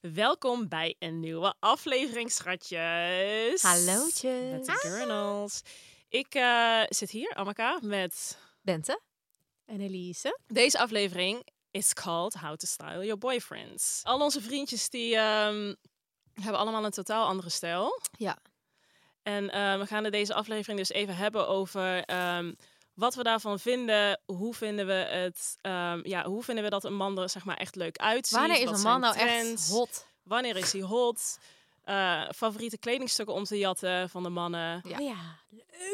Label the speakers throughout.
Speaker 1: Welkom bij een nieuwe aflevering, schatjes.
Speaker 2: Hallootjes.
Speaker 1: Met de Gurnals. Ik eh, zit hier, Amaka, met
Speaker 2: Bente?
Speaker 3: En Elise?
Speaker 1: deze aflevering. It's called How to Style Your Boyfriends. Al onze vriendjes die ehm, hebben allemaal een totaal andere stijl.
Speaker 3: Ja.
Speaker 1: En eh, we gaan het deze aflevering dus even hebben over ehm, wat we daarvan vinden. Hoe vinden we het? ehm, ja, hoe vinden we dat een man er zeg maar echt leuk uitziet?
Speaker 3: Wanneer is
Speaker 1: Wat
Speaker 3: een
Speaker 1: zijn
Speaker 3: man nou echt
Speaker 1: trends?
Speaker 3: hot?
Speaker 1: Wanneer is hij hot? Eh, favoriete kledingstukken om te jatten van de mannen.
Speaker 3: Ja.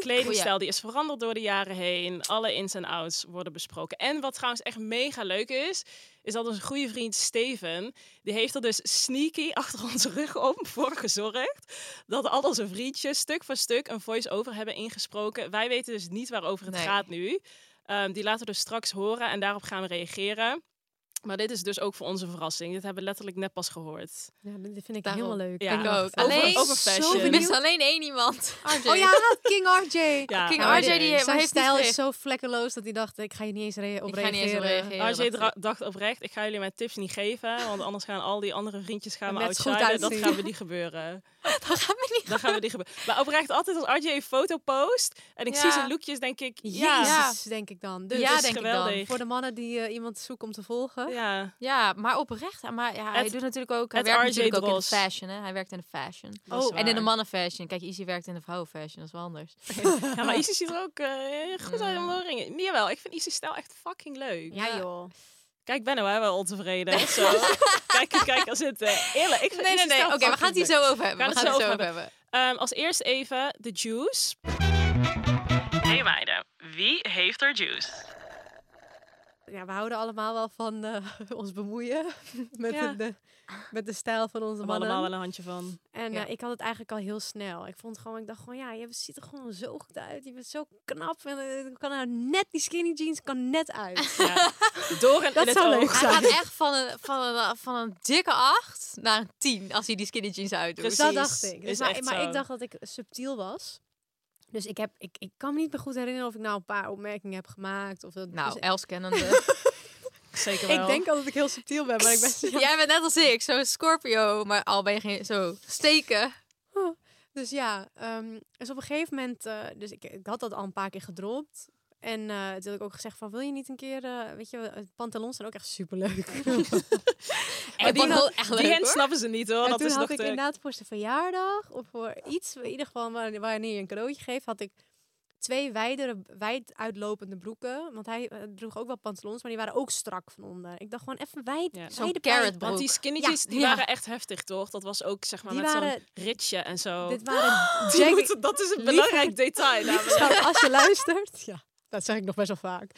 Speaker 1: Kledingstijl die is veranderd door de jaren heen. Alle ins en outs worden besproken. En wat trouwens echt mega leuk is, is dat onze goede vriend Steven, die heeft er dus sneaky achter onze rug om voor gezorgd dat al onze vriendjes stuk voor stuk een voice-over hebben ingesproken. Wij weten dus niet waarover het
Speaker 3: Nee.
Speaker 1: gaat nu. Ehm, die laten we dus straks horen en daarop gaan we reageren. Maar dit is dus ook voor onze verrassing. Dit hebben we letterlijk net pas gehoord.
Speaker 3: Ja, dat vind ik
Speaker 2: Daarom.
Speaker 3: helemaal leuk.
Speaker 1: Ja.
Speaker 3: Ik ook.
Speaker 1: Over- Alleen- over fashion.
Speaker 2: Ik
Speaker 1: benieuwd.
Speaker 2: mis alleen één iemand. RJ.
Speaker 3: Oh ja, King RJ.
Speaker 1: Ja,
Speaker 2: King
Speaker 1: maar
Speaker 2: RJ die
Speaker 1: dit-
Speaker 2: heeft
Speaker 3: Zijn
Speaker 2: niet
Speaker 3: stijl is
Speaker 2: gericht.
Speaker 3: zo vlekkeloos dat hij dacht, ik ga je niet eens re- op
Speaker 2: Ik ga
Speaker 3: reageren.
Speaker 2: niet eens op reageren.
Speaker 1: Als je
Speaker 2: dacht ik.
Speaker 1: dacht oprecht, ik ga jullie mijn tips niet geven, want anders gaan al die andere vriendjes gaan me
Speaker 3: Met goed
Speaker 1: outshinen. Dat
Speaker 3: uitzien.
Speaker 1: gaan we niet gebeuren.
Speaker 2: Dat gaat me niet
Speaker 1: Dat gaan we niet gebeuren. Maar oprecht altijd als RJ een foto post en ik
Speaker 2: Ja.
Speaker 1: zie zijn lookjes, denk ik, ja,
Speaker 3: Jezus, denk ik dan. Dus
Speaker 1: dit
Speaker 2: Ja,
Speaker 1: is
Speaker 2: denk ik dan.
Speaker 1: geweldig.
Speaker 3: voor de mannen die eh, iemand zoeken om te volgen.
Speaker 1: Ja,
Speaker 2: Ja, maar oprecht. Maar ja, hij
Speaker 1: Het-
Speaker 2: doet natuurlijk ook. Hij
Speaker 1: het
Speaker 2: werkt
Speaker 1: RJ
Speaker 2: natuurlijk ook in de
Speaker 1: Dros.
Speaker 2: fashion. Hè? Hij werkt in de fashion.
Speaker 1: dat is
Speaker 3: Oh,
Speaker 2: En in de
Speaker 1: waar.
Speaker 2: mannenfashion. Kijk, Izzy werkt in de vrouwenfashion. Dat is wel anders.
Speaker 1: Ja, maar Issy ziet er ook eh, goed uit om
Speaker 2: Mm.
Speaker 1: de ringen. Jawel, ik vind Issy stijl echt fucking leuk.
Speaker 2: Ja.
Speaker 3: joh.
Speaker 1: Kijk, ben nou hè, wel ontevreden. Zo. kijk, kijk, als het eh, eerlijk. Ik vind
Speaker 2: Nee, nee,
Speaker 1: Issy
Speaker 2: nee.
Speaker 1: stijl
Speaker 2: Oké, we gaan het hier
Speaker 1: fucking leuk.
Speaker 2: zo over hebben.
Speaker 1: Gaan
Speaker 2: We
Speaker 1: het
Speaker 2: gaan het
Speaker 1: zo
Speaker 2: zo
Speaker 1: over
Speaker 2: over hebben.
Speaker 1: Ehm, als eerst even de juice. Hey meiden, wie heeft er juice?
Speaker 3: Ja, we houden allemaal wel van eh, ons bemoeien met,
Speaker 1: Ja.
Speaker 3: de, de- met de stijl van onze
Speaker 1: We
Speaker 3: mannen.
Speaker 1: allemaal wel een handje van.
Speaker 3: En
Speaker 2: Ja.
Speaker 3: eh, ik had het eigenlijk al heel snel. Ik vond gewoon, ik dacht gewoon, ja, je ziet er gewoon zo goed uit. Je bent zo knap. En eh, ik kan nou net, die skinny jeans kan net uit.
Speaker 1: Ja. Door en
Speaker 3: Dat
Speaker 1: in
Speaker 3: zou
Speaker 1: het
Speaker 3: leuk
Speaker 1: oog.
Speaker 2: Hij gaat echt van een, van, een, van een dikke 8 naar een 10 als hij die skinny jeans uitdoet.
Speaker 1: Precies.
Speaker 3: dat dacht ik. Dus
Speaker 1: Is
Speaker 3: maar
Speaker 1: echt
Speaker 3: maar
Speaker 1: zo.
Speaker 3: ik dacht dat ik subtiel was. Dus ik, heb, ik, ik kan me niet meer goed herinneren of ik nou een paar opmerkingen heb gemaakt. Of dat,
Speaker 2: Nou,
Speaker 3: dus
Speaker 2: Els kennende.
Speaker 1: Zeker wel.
Speaker 3: ik denk al dat ik heel subtiel ben, maar ik ben...
Speaker 2: Jij bent net als ik, zo'n Scorpio, maar al ben je geen zo steken.
Speaker 3: Dus ja, ehm, dus op een gegeven moment, eh, dus ik, ik had dat al een paar keer gedropt. En eh, toen had ik ook gezegd van, wil je niet een keer, eh, weet je, eh, pantalons zijn ook echt superleuk.
Speaker 2: En
Speaker 1: die-
Speaker 2: die wel echt
Speaker 1: Die
Speaker 2: leuk
Speaker 1: hand
Speaker 2: hoor.
Speaker 1: snappen ze niet hoor.
Speaker 3: en
Speaker 1: dat
Speaker 3: toen
Speaker 1: is
Speaker 3: had
Speaker 1: nog
Speaker 3: ik
Speaker 1: de-
Speaker 3: inderdaad voor zijn verjaardag, of voor iets, in ieder geval wa- wanneer je een cadeautje geeft, had ik twee wijdere, wijd uitlopende broeken. Want hij eh, droeg ook wel pantalons, maar die waren ook strak van onder. Ik dacht gewoon even wijd,
Speaker 1: Ja.
Speaker 3: ja.
Speaker 2: Zo'n carrot
Speaker 1: Want die
Speaker 2: broek.
Speaker 1: skinnyjes
Speaker 2: Ja,
Speaker 1: die
Speaker 2: ja.
Speaker 1: waren echt heftig toch? Dat was ook zeg maar
Speaker 3: Die
Speaker 1: met
Speaker 3: waren-
Speaker 1: zo'n ritje en zo.
Speaker 3: Dit waren
Speaker 1: Die
Speaker 3: jack-
Speaker 1: moeten- dat is een
Speaker 3: Lieve-
Speaker 1: belangrijk detail. namelijk.
Speaker 3: Schat, als je luistert. Ja, dat zeg ik nog best wel vaak.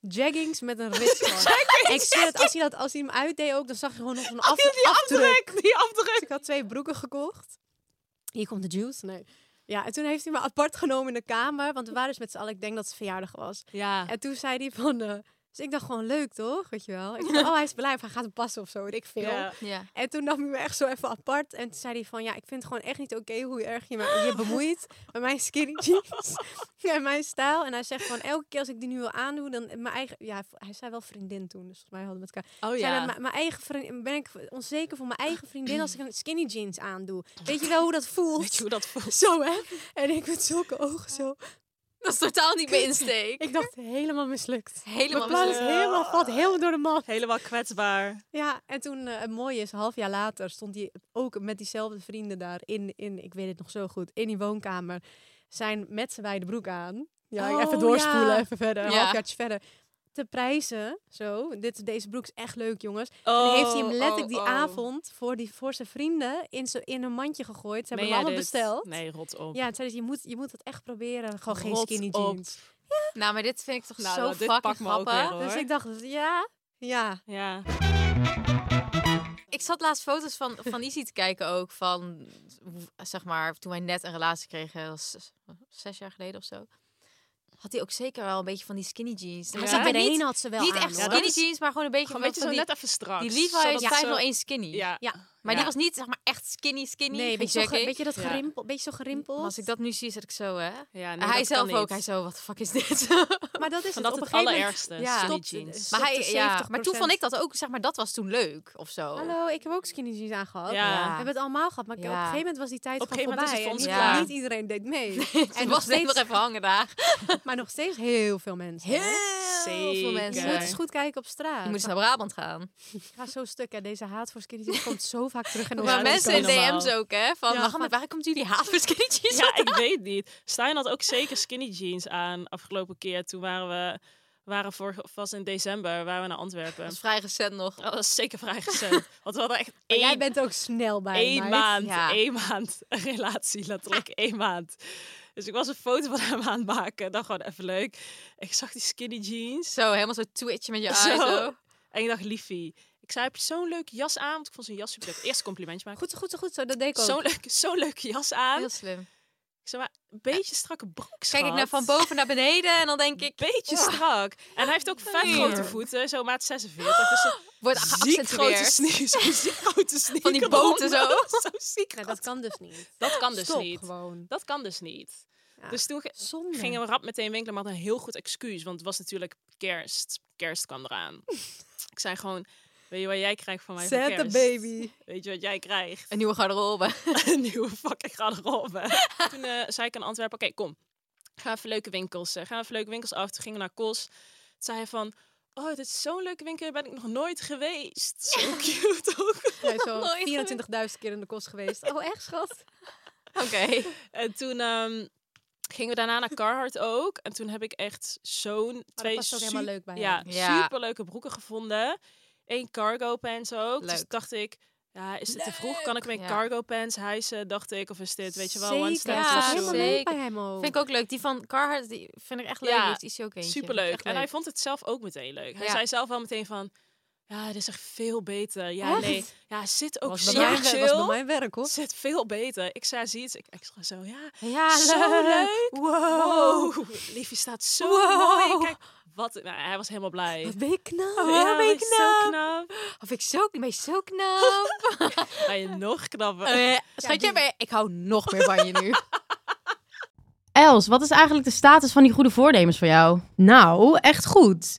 Speaker 3: Jaggings met een ritsel. ik zweer het, als hij, dat, als hij hem uitdeed ook, dan zag je gewoon nog een af,
Speaker 1: Die
Speaker 3: afdruk.
Speaker 1: afdruk, die afdruk.
Speaker 3: Dus ik had twee broeken gekocht. Hier komt de juice. Nee. Ja, en toen heeft hij me apart genomen in de kamer. Want we waren dus met z'n allen, ik denk dat het verjaardag was.
Speaker 1: Ja.
Speaker 3: En toen zei hij van... eh, dus ik dacht gewoon leuk, toch? Weet je wel. Ik dacht, oh, hij is blij of hij gaat hem passen of zo. Weet ik veel.
Speaker 1: Ja.
Speaker 2: Ja.
Speaker 3: En toen nam hij me echt zo even apart. En toen zei hij van, ja, ik vind het gewoon echt niet oké hoe erg je me je bemoeit met mijn skinny jeans. en mijn stijl. En hij zegt van, elke keer als ik die nu wil aandoen, dan mijn eigen... Ja, hij zei wel vriendin toen, dus volgens mij hadden we het elkaar.
Speaker 1: Oh
Speaker 3: Zei dan, "Mijn- mijn eigen vriendin, ben ik onzeker voor mijn eigen vriendin als ik een skinny jeans aandoe. Weet je wel hoe dat
Speaker 1: Weet je
Speaker 3: voelt?
Speaker 1: hoe dat voelt?
Speaker 3: Zo, hè? En ik met zulke ogen zo.
Speaker 2: Dat is totaal niet mijn insteek.
Speaker 3: Ik dacht, helemaal mislukt.
Speaker 2: Helemaal
Speaker 3: Mijn plan is
Speaker 1: mislukt.
Speaker 3: helemaal, valt helemaal door de man.
Speaker 1: Helemaal kwetsbaar.
Speaker 3: Ja, en toen, eh, het mooie is, een half jaar later stond hij ook met diezelfde vrienden daar in, in, ik weet het nog zo goed, in die woonkamer. Zijn met zijn wijde broek aan. Ja,
Speaker 1: Oh,
Speaker 3: even doorspoelen,
Speaker 1: ja.
Speaker 3: even verder, een
Speaker 2: Ja.
Speaker 3: halfjaartje verder. Te prijzen, zo. Dit, deze broek is echt leuk, jongens. En
Speaker 1: Oh,
Speaker 3: heeft hij hem letterlijk
Speaker 1: oh,
Speaker 3: die
Speaker 1: oh.
Speaker 3: avond voor, die, voor zijn vrienden in, zo, in een mandje gegooid. Ze hebben
Speaker 1: Meen
Speaker 3: hem
Speaker 1: jij
Speaker 3: allemaal
Speaker 1: dit?
Speaker 3: besteld.
Speaker 1: dus- Nee, rot op.
Speaker 3: Ja, het zei, dus, je moet, je moet het echt proberen. Gewoon geen
Speaker 1: Rot
Speaker 3: skinny
Speaker 1: op.
Speaker 3: jeans.
Speaker 2: Nou, maar dit vind ik toch
Speaker 1: Nou,
Speaker 2: zo
Speaker 1: nou, dit
Speaker 2: fucking
Speaker 1: pakt me ook
Speaker 2: grappig.
Speaker 1: weer, hoor.
Speaker 3: Dus ik dacht, ja, ja.
Speaker 1: Ja.
Speaker 2: Ik Ik zat laatst foto's van, van Izzy te kijken ook. Van, w- zeg maar, toen wij net een relatie kregen. dat was zes, zes jaar geleden of zo. Had hij ook zeker wel een beetje van die skinny jeans. Maar
Speaker 1: Ja.
Speaker 2: ze
Speaker 3: Maar
Speaker 2: hebben
Speaker 3: de
Speaker 2: niet,
Speaker 3: ene had ze wel
Speaker 2: niet
Speaker 3: aan,
Speaker 2: echt
Speaker 3: hoor.
Speaker 2: skinny jeans, maar gewoon een beetje
Speaker 1: Gewoon
Speaker 2: van
Speaker 1: een beetje zo
Speaker 2: die,
Speaker 1: net even strak.
Speaker 2: die Levi's
Speaker 1: zodat het zo-
Speaker 2: 501 skinny.
Speaker 1: Ja.
Speaker 3: Ja.
Speaker 2: Maar die
Speaker 1: Ja.
Speaker 2: was niet zeg maar echt skinny skinny.
Speaker 3: Nee,
Speaker 2: geen
Speaker 3: weet je, zo, ge-
Speaker 2: jacket.
Speaker 3: weet je dat
Speaker 1: Ja.
Speaker 3: gerimpel, beetje zo gerimpeld?
Speaker 2: Maar als ik dat nu zie, zit ik zo, hè?
Speaker 1: Ja, nee,
Speaker 2: En hij
Speaker 1: dat kan
Speaker 2: zelf ook.
Speaker 1: niet.
Speaker 2: Hij zo, wat de fuck is dit?
Speaker 3: maar dat is het.
Speaker 1: Van dat
Speaker 3: op een
Speaker 1: het
Speaker 3: gegeven moment
Speaker 1: allerergste,
Speaker 2: Ja.
Speaker 1: skinny
Speaker 3: stopt-
Speaker 1: jeans.
Speaker 2: maar, hij, ja, maar toen
Speaker 3: 70%.
Speaker 2: vond ik dat ook, zeg maar, dat was toen leuk of zo.
Speaker 3: Hallo, ik heb ook skinny jeans aangehad.
Speaker 1: Ja.
Speaker 3: We hebben het allemaal gehad, maar
Speaker 2: Ja.
Speaker 3: op een gegeven moment was die tijd
Speaker 1: Op een
Speaker 3: gewoon
Speaker 1: gegeven
Speaker 3: voorbij.
Speaker 1: moment is het
Speaker 3: en
Speaker 2: voor ons klaar.
Speaker 3: niet iedereen deed mee.
Speaker 2: En was steeds... nog even hangen daar.
Speaker 3: Maar nog steeds heel veel mensen. hè?
Speaker 2: Heel veel
Speaker 1: Zeker.
Speaker 3: Je
Speaker 2: mensen.
Speaker 3: moet
Speaker 1: Kijk.
Speaker 3: eens goed kijken op straat.
Speaker 2: Je moet eens naar Brabant gaan.
Speaker 3: Ik ga zo stuk en deze haat voor skinny jeans komt zo vaak terug in
Speaker 1: Ja,
Speaker 3: onze
Speaker 2: maar
Speaker 1: dat is
Speaker 2: mensen in
Speaker 1: niet normaal.
Speaker 2: DM's ook, hè? Van,
Speaker 3: Ja,
Speaker 2: Mohammed,
Speaker 3: van-
Speaker 2: waar komt jullie haatverskindjes
Speaker 1: Ja, ik weet niet. Stijn had ook zeker skinny jeans aan afgelopen keer. Toen waren we, waren vorig, was in december, waren we naar
Speaker 2: Dat
Speaker 1: Antwerpen.
Speaker 2: is vrij recent nog.
Speaker 1: Dat was zeker vrijgezet. Want we hadden echt
Speaker 3: Maar jij
Speaker 1: één,
Speaker 3: bent ook snel bij
Speaker 1: één
Speaker 3: meid.
Speaker 1: maand,
Speaker 2: Ja.
Speaker 1: één maand een relatie, letterlijk één maand. Dus ik was een foto van hem aan het maken. Dan gewoon even leuk. Ik zag die skinny jeans.
Speaker 2: Zo, helemaal zo twitchen met je
Speaker 1: Zo.
Speaker 2: ogen. Zo.
Speaker 1: En ik dacht, liefie. Ik zei, heb je zo'n leuke jas aan? Want ik vond zijn jas super leuk. Eerst een complimentje maken.
Speaker 3: Goed zo, goed zo, goed zo. Dat deed ik ook.
Speaker 1: Zo'n leuke, zo'n leuke jas aan.
Speaker 2: Heel slim.
Speaker 1: Ik zei, maar een beetje strakke broek,
Speaker 2: Kijk ik
Speaker 1: schat.
Speaker 2: naar van boven naar beneden en dan denk ik,
Speaker 1: beetje strak. En hij heeft ook vet
Speaker 2: Nee.
Speaker 1: grote voeten, zo maat 46. Dus dat
Speaker 2: wordt
Speaker 1: ziek grote
Speaker 2: geaccentueerd.
Speaker 1: sneeuw, zo ziek grote sneeuw.
Speaker 2: Van die boten zo.
Speaker 1: zo ziek
Speaker 3: Nee, dat
Speaker 1: groot.
Speaker 3: kan dus niet.
Speaker 1: Dat kan dus
Speaker 3: Stop
Speaker 1: niet.
Speaker 3: gewoon.
Speaker 1: Dat kan dus niet.
Speaker 3: Ja.
Speaker 1: Dus toen ge-
Speaker 3: Zonde.
Speaker 1: gingen we rap meteen winkelen, maar had een heel goed excuus. Want het was natuurlijk kerst. Kerst kwam eraan. Ik zei gewoon, weet je wat jij krijgt van mij voor
Speaker 3: Zet de
Speaker 1: kerst?
Speaker 3: baby.
Speaker 1: Weet je wat jij krijgt?
Speaker 2: Een nieuwe garderobe.
Speaker 1: een nieuwe fucking garderobe. Toen eh, zei ik aan Antwerpen, oké, kom. Ga even leuke winkels, eh, ga even leuke winkels af. Toen gingen we naar Kos. Toen zei hij van, oh, dit is zo'n leuke winkel, daar ben ik nog nooit geweest. Zo cute ook.
Speaker 3: Hij is al
Speaker 2: Nooit
Speaker 3: 24.000 keer in de kost geweest. Oh, echt, schat?
Speaker 2: Oké.
Speaker 1: En toen ehm, gingen we daarna naar Carhartt ook. En toen heb ik echt
Speaker 3: Maar
Speaker 1: zo'n
Speaker 3: dat
Speaker 1: twee
Speaker 3: past ook
Speaker 1: su-
Speaker 3: helemaal leuk bij
Speaker 1: ja,
Speaker 3: hem.
Speaker 2: Ja.
Speaker 1: superleuke broeken gevonden. Eén cargo pants ook. Dus
Speaker 2: Leuk.
Speaker 1: dacht ik, ja, is het te vroeg? Kan ik mijn
Speaker 2: Ja.
Speaker 1: cargo pants hijsen, dacht ik. Of is dit, weet je wel,
Speaker 3: Zeker,
Speaker 1: one step
Speaker 2: ja,
Speaker 3: dat
Speaker 1: too
Speaker 3: past
Speaker 2: zo.
Speaker 1: soon.
Speaker 3: helemaal leuk
Speaker 2: Zeker.
Speaker 3: bij hem ook.
Speaker 2: Vind ik ook leuk. Die van Carhartt, die vind ik echt leuk.
Speaker 1: Ja,
Speaker 2: Die heeft Izzy ook eentje.
Speaker 1: Superleuk.
Speaker 2: Echt
Speaker 1: En hij
Speaker 2: leuk.
Speaker 1: vond het zelf ook meteen leuk. Hij
Speaker 2: Ja.
Speaker 1: zei zelf wel meteen van, ja, dit is echt veel beter. Ja,
Speaker 3: Echt?
Speaker 1: nee. Ja, zit ook
Speaker 3: was,
Speaker 1: zo
Speaker 3: bij mij, was bij
Speaker 1: chill.
Speaker 3: mijn werk, hoor.
Speaker 1: Zit veel beter. Ik zei, zie het. Ik extra zo, ja.
Speaker 2: Ja, leuk.
Speaker 1: Zo leuk.
Speaker 2: Wow.
Speaker 1: Wow. Liefje staat zo
Speaker 2: Wow.
Speaker 1: mooi. Kijk, wat. nou, hij was helemaal blij.
Speaker 3: Wat ben je knap.
Speaker 2: Oh,
Speaker 1: ja,
Speaker 2: ben je
Speaker 1: wat is zo
Speaker 2: knap.
Speaker 1: knap.
Speaker 2: Of ik zo, ben je zo knap. Oh,
Speaker 1: Ben je nog knapper.
Speaker 3: Oh
Speaker 2: Eh, Schatje, ben je- ik hou nog meer van je nu. Els, wat is eigenlijk de status van die goede voornemens voor jou?
Speaker 4: Nou, echt goed.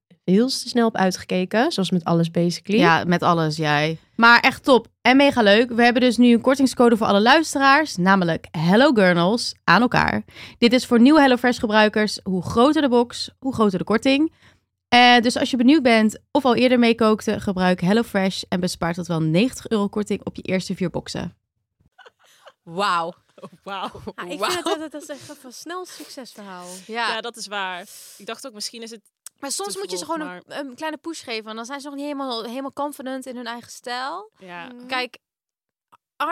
Speaker 4: heel te snel op uitgekeken. Zoals met alles basically.
Speaker 5: Ja, met alles, jij. Maar echt top en mega leuk. We hebben dus nu een kortingscode voor alle luisteraars, namelijk Hello Gurnals aan elkaar. Dit is voor nieuwe HelloFresh gebruikers. Hoe groter de box, hoe groter de korting. Eh, dus als je benieuwd bent of al eerder meekookte, gebruik HelloFresh en bespaart tot wel 90 euro korting op je eerste vier boxen.
Speaker 2: Wauw.
Speaker 1: Wauw.
Speaker 3: Ja, ik
Speaker 2: Wauw.
Speaker 3: vind dat, dat, dat is echt een snel succesverhaal.
Speaker 2: Ja.
Speaker 1: Ja, dat is waar. Ik dacht ook, misschien is het...
Speaker 2: maar soms
Speaker 1: te
Speaker 2: moet je ze
Speaker 1: vroeg,
Speaker 2: gewoon een, een kleine push geven. En dan zijn ze nog niet helemaal, helemaal confident in hun eigen stijl.
Speaker 1: Ja,
Speaker 3: Mm,
Speaker 2: Kijk,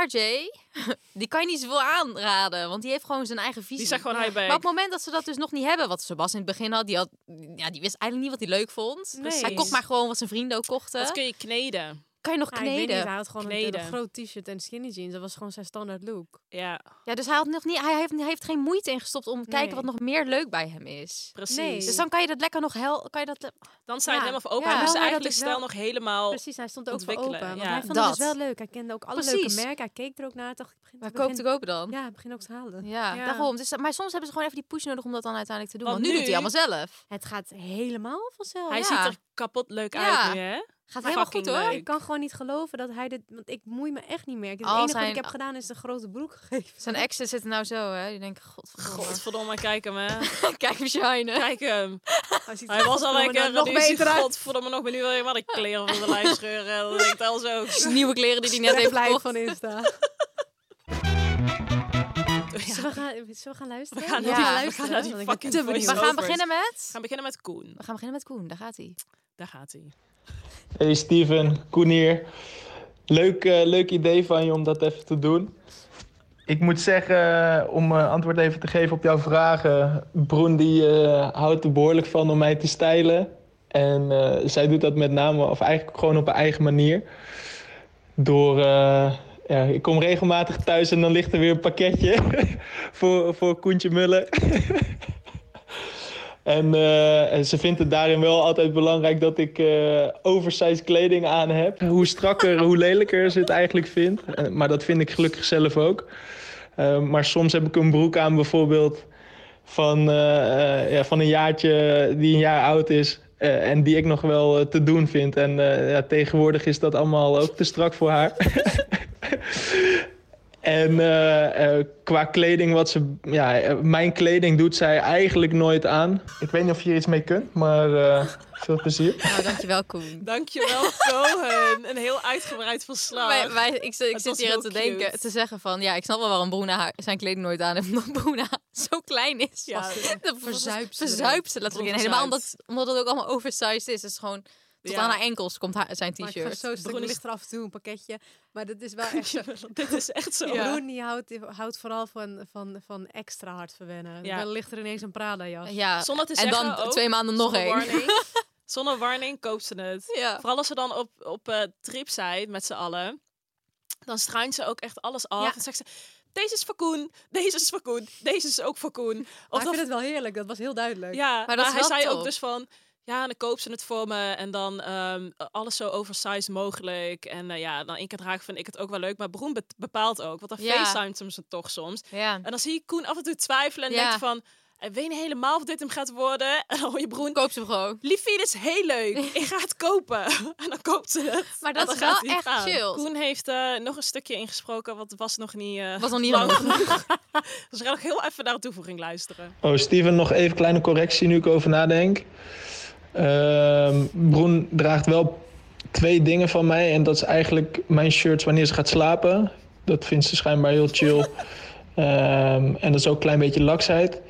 Speaker 2: RJ, die kan je niet zoveel aanraden. Want die heeft gewoon zijn eigen visie.
Speaker 1: die zag gewoon high
Speaker 2: Maar op
Speaker 1: back.
Speaker 2: het moment dat ze dat dus nog niet hebben, wat Sebas in het begin had, die, had, ja, die wist eigenlijk niet wat hij leuk vond.
Speaker 3: Nee.
Speaker 2: Hij kocht maar gewoon wat zijn vrienden ook kochten.
Speaker 1: Dat kun je kneden.
Speaker 2: Kan je nog
Speaker 3: Ja, Ah, ik weet niet,
Speaker 2: kneden?
Speaker 3: hij had gewoon een,
Speaker 1: Kneden.
Speaker 3: een groot t-shirt en skinny jeans. Dat was gewoon zijn standaard look.
Speaker 1: Ja,
Speaker 2: Ja, dus hij, had nog niet, hij, heeft, hij heeft geen moeite ingestopt om te kijken
Speaker 3: Nee.
Speaker 2: wat nog meer leuk bij hem is.
Speaker 1: precies.
Speaker 3: Nee.
Speaker 2: Dus dan kan je dat lekker nog hel... Kan je dat,
Speaker 1: Dan sta je
Speaker 3: Ja.
Speaker 1: helemaal voor open.
Speaker 2: Ja.
Speaker 1: Hij moest
Speaker 3: Wel, maar dat
Speaker 1: eigenlijk
Speaker 3: is
Speaker 1: stel
Speaker 3: wel-
Speaker 1: nog helemaal...
Speaker 3: Precies, hij stond er ook voor
Speaker 1: Ontwikkelen,
Speaker 3: open. Want
Speaker 1: ja.
Speaker 3: hij vond
Speaker 2: Dat.
Speaker 3: het dus wel leuk. Hij kende ook alle
Speaker 2: Precies.
Speaker 3: leuke merken. Hij keek er ook naar. Dacht, ik begin,
Speaker 2: maar
Speaker 3: begin-
Speaker 2: koopt te kopen dan?
Speaker 3: Ja, ik begin ook te halen.
Speaker 2: Ja,
Speaker 3: Ja.
Speaker 2: daarom. Dus, maar soms hebben ze gewoon even die push nodig om dat dan uiteindelijk te doen. Want,
Speaker 1: Want
Speaker 2: nu, doet hij
Speaker 1: nu-
Speaker 2: allemaal zelf.
Speaker 3: Het gaat helemaal vanzelf.
Speaker 1: Hij
Speaker 2: Oh, ja.
Speaker 1: ziet er kapot leuk
Speaker 2: Ja.
Speaker 1: uit nu, hè?
Speaker 2: Gaat helemaal goed
Speaker 1: Fucking
Speaker 2: hoor.
Speaker 1: leuk.
Speaker 3: Ik Oh kan gewoon niet geloven dat hij dit... Want ik moei me echt niet meer. Het
Speaker 2: Al
Speaker 3: enige
Speaker 2: zijn-
Speaker 3: wat ik heb gedaan is een grote broek gegeven.
Speaker 2: Zijn exen zitten nou zo, hè? Die denken, godverdomme.
Speaker 1: Godverdomme, kijk hem, hè.
Speaker 2: Kijk hem shinen.
Speaker 1: Kijk hem.
Speaker 3: Hij, ziet er
Speaker 1: Hij was al
Speaker 3: godverdomme
Speaker 1: lekker.
Speaker 3: nog beter uit.
Speaker 1: Godverdomme, nog benieuwd wat ik kleren van de lijf scheuren. Dat denkt al zo.
Speaker 2: Nieuwe kleren die hij net heeft
Speaker 3: blij
Speaker 2: gekocht.
Speaker 3: van Insta.
Speaker 1: Ja.
Speaker 3: Zullen, we gaan, zullen we gaan luisteren?
Speaker 1: We gaan
Speaker 2: Ja,
Speaker 1: naar
Speaker 2: we
Speaker 1: die
Speaker 2: gaan
Speaker 1: luisteren.
Speaker 3: naar die
Speaker 1: want ik ben
Speaker 3: fucking
Speaker 1: te
Speaker 3: voice-overs.
Speaker 2: We gaan
Speaker 1: benieuwd.
Speaker 2: beginnen met...
Speaker 1: We gaan beginnen met Koen.
Speaker 2: We gaan beginnen met Koen, daar gaat hij.
Speaker 1: Daar gaat hij.
Speaker 6: Hey Steven, Koen hier. Leuk, eh, leuk idee van je om dat even te doen. Ik moet zeggen, om eh, antwoord even te geven op jouw vragen. Broen die eh, houdt er behoorlijk van om mij te stijlen. En eh, zij doet dat met name, of eigenlijk gewoon op haar eigen manier. Door, eh, ja, ik kom regelmatig thuis en dan ligt er weer een pakketje voor, voor Koentje Mullen. En eh, en ze vindt het daarin wel altijd belangrijk dat ik eh oversized kleding aan heb. Hoe strakker, hoe lelijker ze het eigenlijk vindt. Eh, maar dat vind ik gelukkig zelf ook. Eh, maar soms heb ik een broek aan bijvoorbeeld van, eh, eh, ja, van een jaartje die een jaar oud is. eh, en die ik nog wel eh, te doen vind. En eh, ja, tegenwoordig is dat allemaal ook te strak voor haar. En eh, eh, qua kleding, wat ze. Ja, eh, mijn kleding doet zij eigenlijk nooit aan. Ik weet niet of je hier iets mee kunt, maar eh, veel plezier.
Speaker 2: Nou, dankjewel Koen.
Speaker 1: Dankjewel, Cohen. Een heel uitgebreid verslag.
Speaker 2: Wij, wij- ik zit- ik
Speaker 1: Ah. Het
Speaker 2: zit
Speaker 1: was
Speaker 2: hier aan
Speaker 1: heel
Speaker 2: te
Speaker 1: cute.
Speaker 2: denken, te zeggen van... Ja, ik snap wel waarom Bruna haar, zijn kleding nooit aan heeft. Omdat Bruna zo klein is.
Speaker 1: Ja,
Speaker 2: dat
Speaker 3: verzuipt ze
Speaker 2: Verzuipt ze letterlijk. En
Speaker 1: Onderzuipt.
Speaker 2: helemaal omdat, omdat het ook allemaal oversized is. Het is gewoon... Tot
Speaker 1: Ja.
Speaker 2: aan haar enkels komt haar, zijn
Speaker 3: Maar ik ga
Speaker 2: t-shirt.
Speaker 3: zo stuk
Speaker 1: Broen is-
Speaker 3: ligt er af en toe een pakketje. Maar dat is wel echt zo.
Speaker 1: Dit is echt zo.
Speaker 3: Ja. Broen die houdt, die houdt vooral van, van, van extra hard verwennen.
Speaker 1: Ja.
Speaker 3: Dan ligt er ineens een Prada jas.
Speaker 2: Ja.
Speaker 1: Zonder te
Speaker 2: En
Speaker 1: zeggen
Speaker 2: dan
Speaker 1: ook,
Speaker 2: twee maanden nog
Speaker 1: zonder
Speaker 2: één.
Speaker 1: warning. Zonder warning koopt ze het.
Speaker 2: Ja.
Speaker 1: Vooral als ze dan op, op eh, trip zijn met z'n allen. Dan struint ze ook echt alles af.
Speaker 3: Ja.
Speaker 1: En zegt ze, deze is voor Koen. Deze is voor Koen. Deze is ook voor Koen.
Speaker 3: Maar
Speaker 1: Of
Speaker 3: ik
Speaker 1: dan
Speaker 3: vind het wel heerlijk. Dat was heel duidelijk.
Speaker 1: Ja, maar,
Speaker 2: dat is
Speaker 1: hij
Speaker 2: wel
Speaker 1: zei ook
Speaker 2: top.
Speaker 1: dus van... Ja, dan koopt ze het voor me en dan ehm, alles zo oversized mogelijk. En eh, ja, dan één keer draag vind ik het ook wel leuk. Maar Broen be- bepaalt ook, want dan
Speaker 2: Ja.
Speaker 1: facetimet hem ze toch soms.
Speaker 2: ja.
Speaker 1: En dan zie ik Koen af en toe twijfelen en
Speaker 2: Ja.
Speaker 1: denkt van... Ik weet niet helemaal of dit hem gaat worden. En dan hoor je Broen...
Speaker 2: Koop ze hem gewoon.
Speaker 1: Liefie, dit is heel leuk. Ik ga het kopen. En dan koopt ze het.
Speaker 2: Maar dat
Speaker 1: En dan
Speaker 2: is
Speaker 1: gaat
Speaker 2: wel
Speaker 1: hij
Speaker 2: echt
Speaker 1: aan.
Speaker 2: chill.
Speaker 1: Koen heeft eh, nog een stukje ingesproken, wat was nog niet... eh,
Speaker 2: Was nog niet
Speaker 1: lang
Speaker 2: genoeg.
Speaker 1: genoeg. dus we gaan nog heel even naar de toevoeging luisteren.
Speaker 6: Oh, Steven, nog even kleine correctie nu ik over nadenk. Ehm, Broen draagt wel twee dingen van mij. En dat is eigenlijk mijn shirts wanneer ze gaat slapen. Dat vindt ze schijnbaar heel chill. Ehm, en dat is ook een klein beetje laksheid.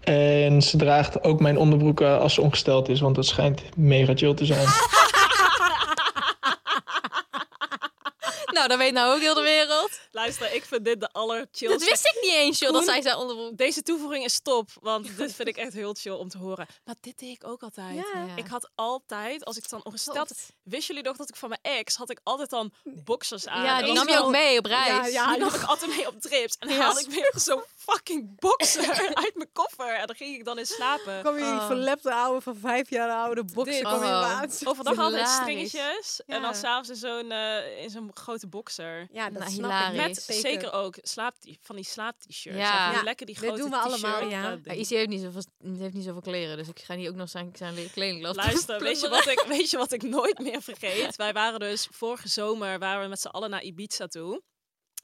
Speaker 6: En ze draagt ook mijn onderbroeken als ze ongesteld is. Want dat schijnt mega chill te zijn.
Speaker 2: Nou, dat weet nou ook heel de wereld.
Speaker 1: Luister, ik vind dit de allerchillste.
Speaker 2: Dat wist ik niet eens, joh, dat
Speaker 1: Koen-
Speaker 2: zij zijn onderbroek.
Speaker 1: Deze toevoeging is top, want dit vind ik echt heel chill om te horen. Maar dit deed ik ook altijd.
Speaker 3: Ja.
Speaker 2: Ja.
Speaker 1: Ik had altijd, als ik dan ongesteld...
Speaker 2: Klopt.
Speaker 1: Wisten jullie nog dat ik van mijn ex, had ik altijd dan boxers aan.
Speaker 2: Ja,
Speaker 1: En
Speaker 2: die
Speaker 1: dat
Speaker 2: nam
Speaker 1: was
Speaker 2: je
Speaker 1: dan-
Speaker 2: ook mee op reis.
Speaker 1: Ja, die nam ik altijd mee op trips. En dan
Speaker 2: Ja.
Speaker 1: haalde ik weer zo'n fucking boxer uit mijn koffer. En dan ging ik dan in slapen.
Speaker 3: Kom je die
Speaker 2: Oh.
Speaker 3: verlepte oude van vijf jaar oude boxen
Speaker 1: Dit.
Speaker 3: kom je
Speaker 2: Oh.
Speaker 3: aan.
Speaker 1: Overdag altijd
Speaker 2: Hilarisch.
Speaker 1: stringetjes. En dan
Speaker 3: Ja.
Speaker 1: s'avonds in zo'n eh, in zo'n grote boxer.
Speaker 3: Ja, dat
Speaker 2: Nou,
Speaker 3: snap
Speaker 2: hilarisch.
Speaker 3: ik.
Speaker 2: Met
Speaker 1: Met zeker ook slaap, van die slaap-t-shirts.
Speaker 2: Ja.
Speaker 1: Ja.
Speaker 3: Ja,
Speaker 1: Lekker die
Speaker 3: dit
Speaker 1: grote
Speaker 3: doen we allemaal,
Speaker 1: t-shirt.
Speaker 3: ja.
Speaker 1: Dat
Speaker 2: Maar
Speaker 1: ding.
Speaker 2: Izzy heeft niet, zoveel, heeft niet zoveel kleren, dus ik ga niet ook nog zijn, zijn kleding laten
Speaker 1: Luister, weet je,
Speaker 2: plunderen.
Speaker 1: wat ik, weet je wat ik nooit meer vergeet? Wij waren dus vorige zomer waren we met z'n allen naar Ibiza toe.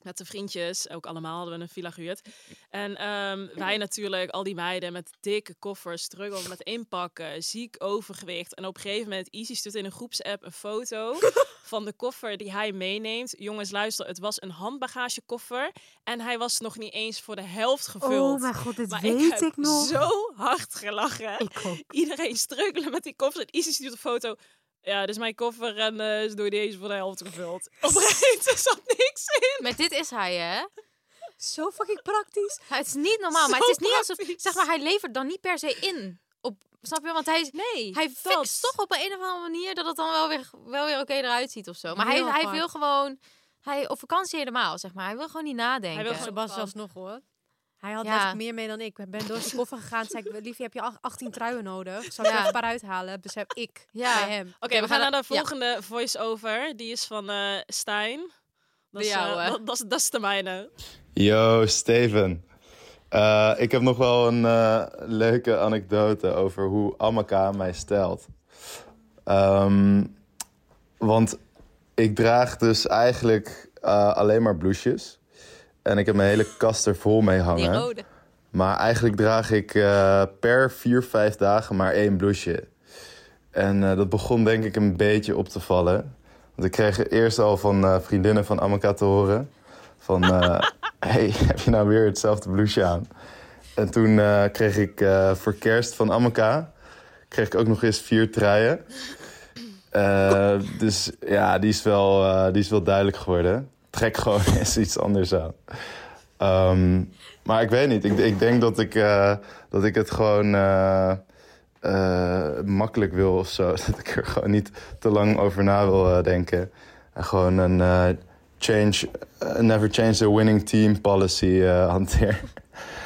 Speaker 1: Met de vriendjes, ook allemaal hadden we een villa gehuurd. En ehm, wij natuurlijk, al die meiden met dikke koffers, struggle met inpakken, ziek overgewicht. En op een gegeven moment, Easy stuurt in een groepsapp een foto van de koffer die hij meeneemt. Jongens, luister, het was een handbagagekoffer. En hij was nog niet eens voor de helft gevuld.
Speaker 3: Oh mijn god, dit
Speaker 1: Maar
Speaker 3: weet
Speaker 1: ik
Speaker 3: ik,
Speaker 1: heb
Speaker 3: nog.
Speaker 1: zo hard gelachen. Iedereen struikelen met die koffer. En Isi stuurt een foto. Ja, dit is mijn koffer en eh, is door deze voor de helft gevuld. Oprecht, er zat niks in.
Speaker 2: Met dit is hij, hè?
Speaker 3: Zo fucking praktisch.
Speaker 2: Hij- Het is niet normaal, maar
Speaker 1: Zo
Speaker 2: het is niet alsof...
Speaker 1: praktisch.
Speaker 2: Zeg maar, hij levert dan niet per se in op Snap je? Want hij, is-
Speaker 1: Nee,
Speaker 2: hij fixt toch op een, een of andere manier dat het dan wel weer, wel weer oké eruit ziet of zo. Maar hij,
Speaker 3: Heel
Speaker 2: hij
Speaker 3: apart.
Speaker 2: wil gewoon... Hij, op vakantie helemaal, zeg maar. Hij wil gewoon niet nadenken.
Speaker 1: Hij wil gewoon-
Speaker 3: Sebas was nog hoor. Oh, Hij had
Speaker 2: Ja.
Speaker 3: best meer mee dan ik. Ik ben door zijn koffer gegaan. Zei ik, liefje, heb je ach- 18 truien nodig? Zal ik
Speaker 2: Ja.
Speaker 3: er een paar uithalen? Besef ik
Speaker 2: Ja.
Speaker 3: bij hem.
Speaker 1: Oké,
Speaker 2: Oké,
Speaker 1: we
Speaker 2: we
Speaker 1: gaan
Speaker 2: gaan
Speaker 1: naar de
Speaker 2: naar- ja.
Speaker 1: volgende voice-over. Die is van eh Stijn.
Speaker 2: De
Speaker 1: Dat is, eh,
Speaker 2: jouwe.
Speaker 1: dat, dat is, dat is de mijne.
Speaker 7: Yo, Steven. Eh, ik heb nog wel een eh, leuke anekdote over hoe Amaka mij stelt. Ehm, want ik draag dus eigenlijk eh, alleen maar blouses. En ik heb mijn hele kast er vol mee
Speaker 2: Die
Speaker 7: hangen.
Speaker 2: rode.
Speaker 7: Maar eigenlijk draag ik eh, per vier, vijf dagen maar één blouseje. En eh, dat begon denk ik een beetje op te vallen. Want ik kreeg eerst al van eh, vriendinnen van Amaka te horen... van, eh, hey, heb je nou weer hetzelfde blouseje aan? En toen eh, kreeg ik eh, voor kerst van Amaka... kreeg ik ook nog eens vier truien. Eh, dus ja, die is, wel, eh, die is wel duidelijk geworden. Trek gewoon eens iets anders aan. Ehm, maar ik weet niet. Ik, ik denk dat ik, eh, dat ik het gewoon eh, eh, makkelijk wil of zo. Dat ik er gewoon niet te lang over na wil eh, denken. En gewoon een eh, change, eh, never change the winning team policy eh, hanteer.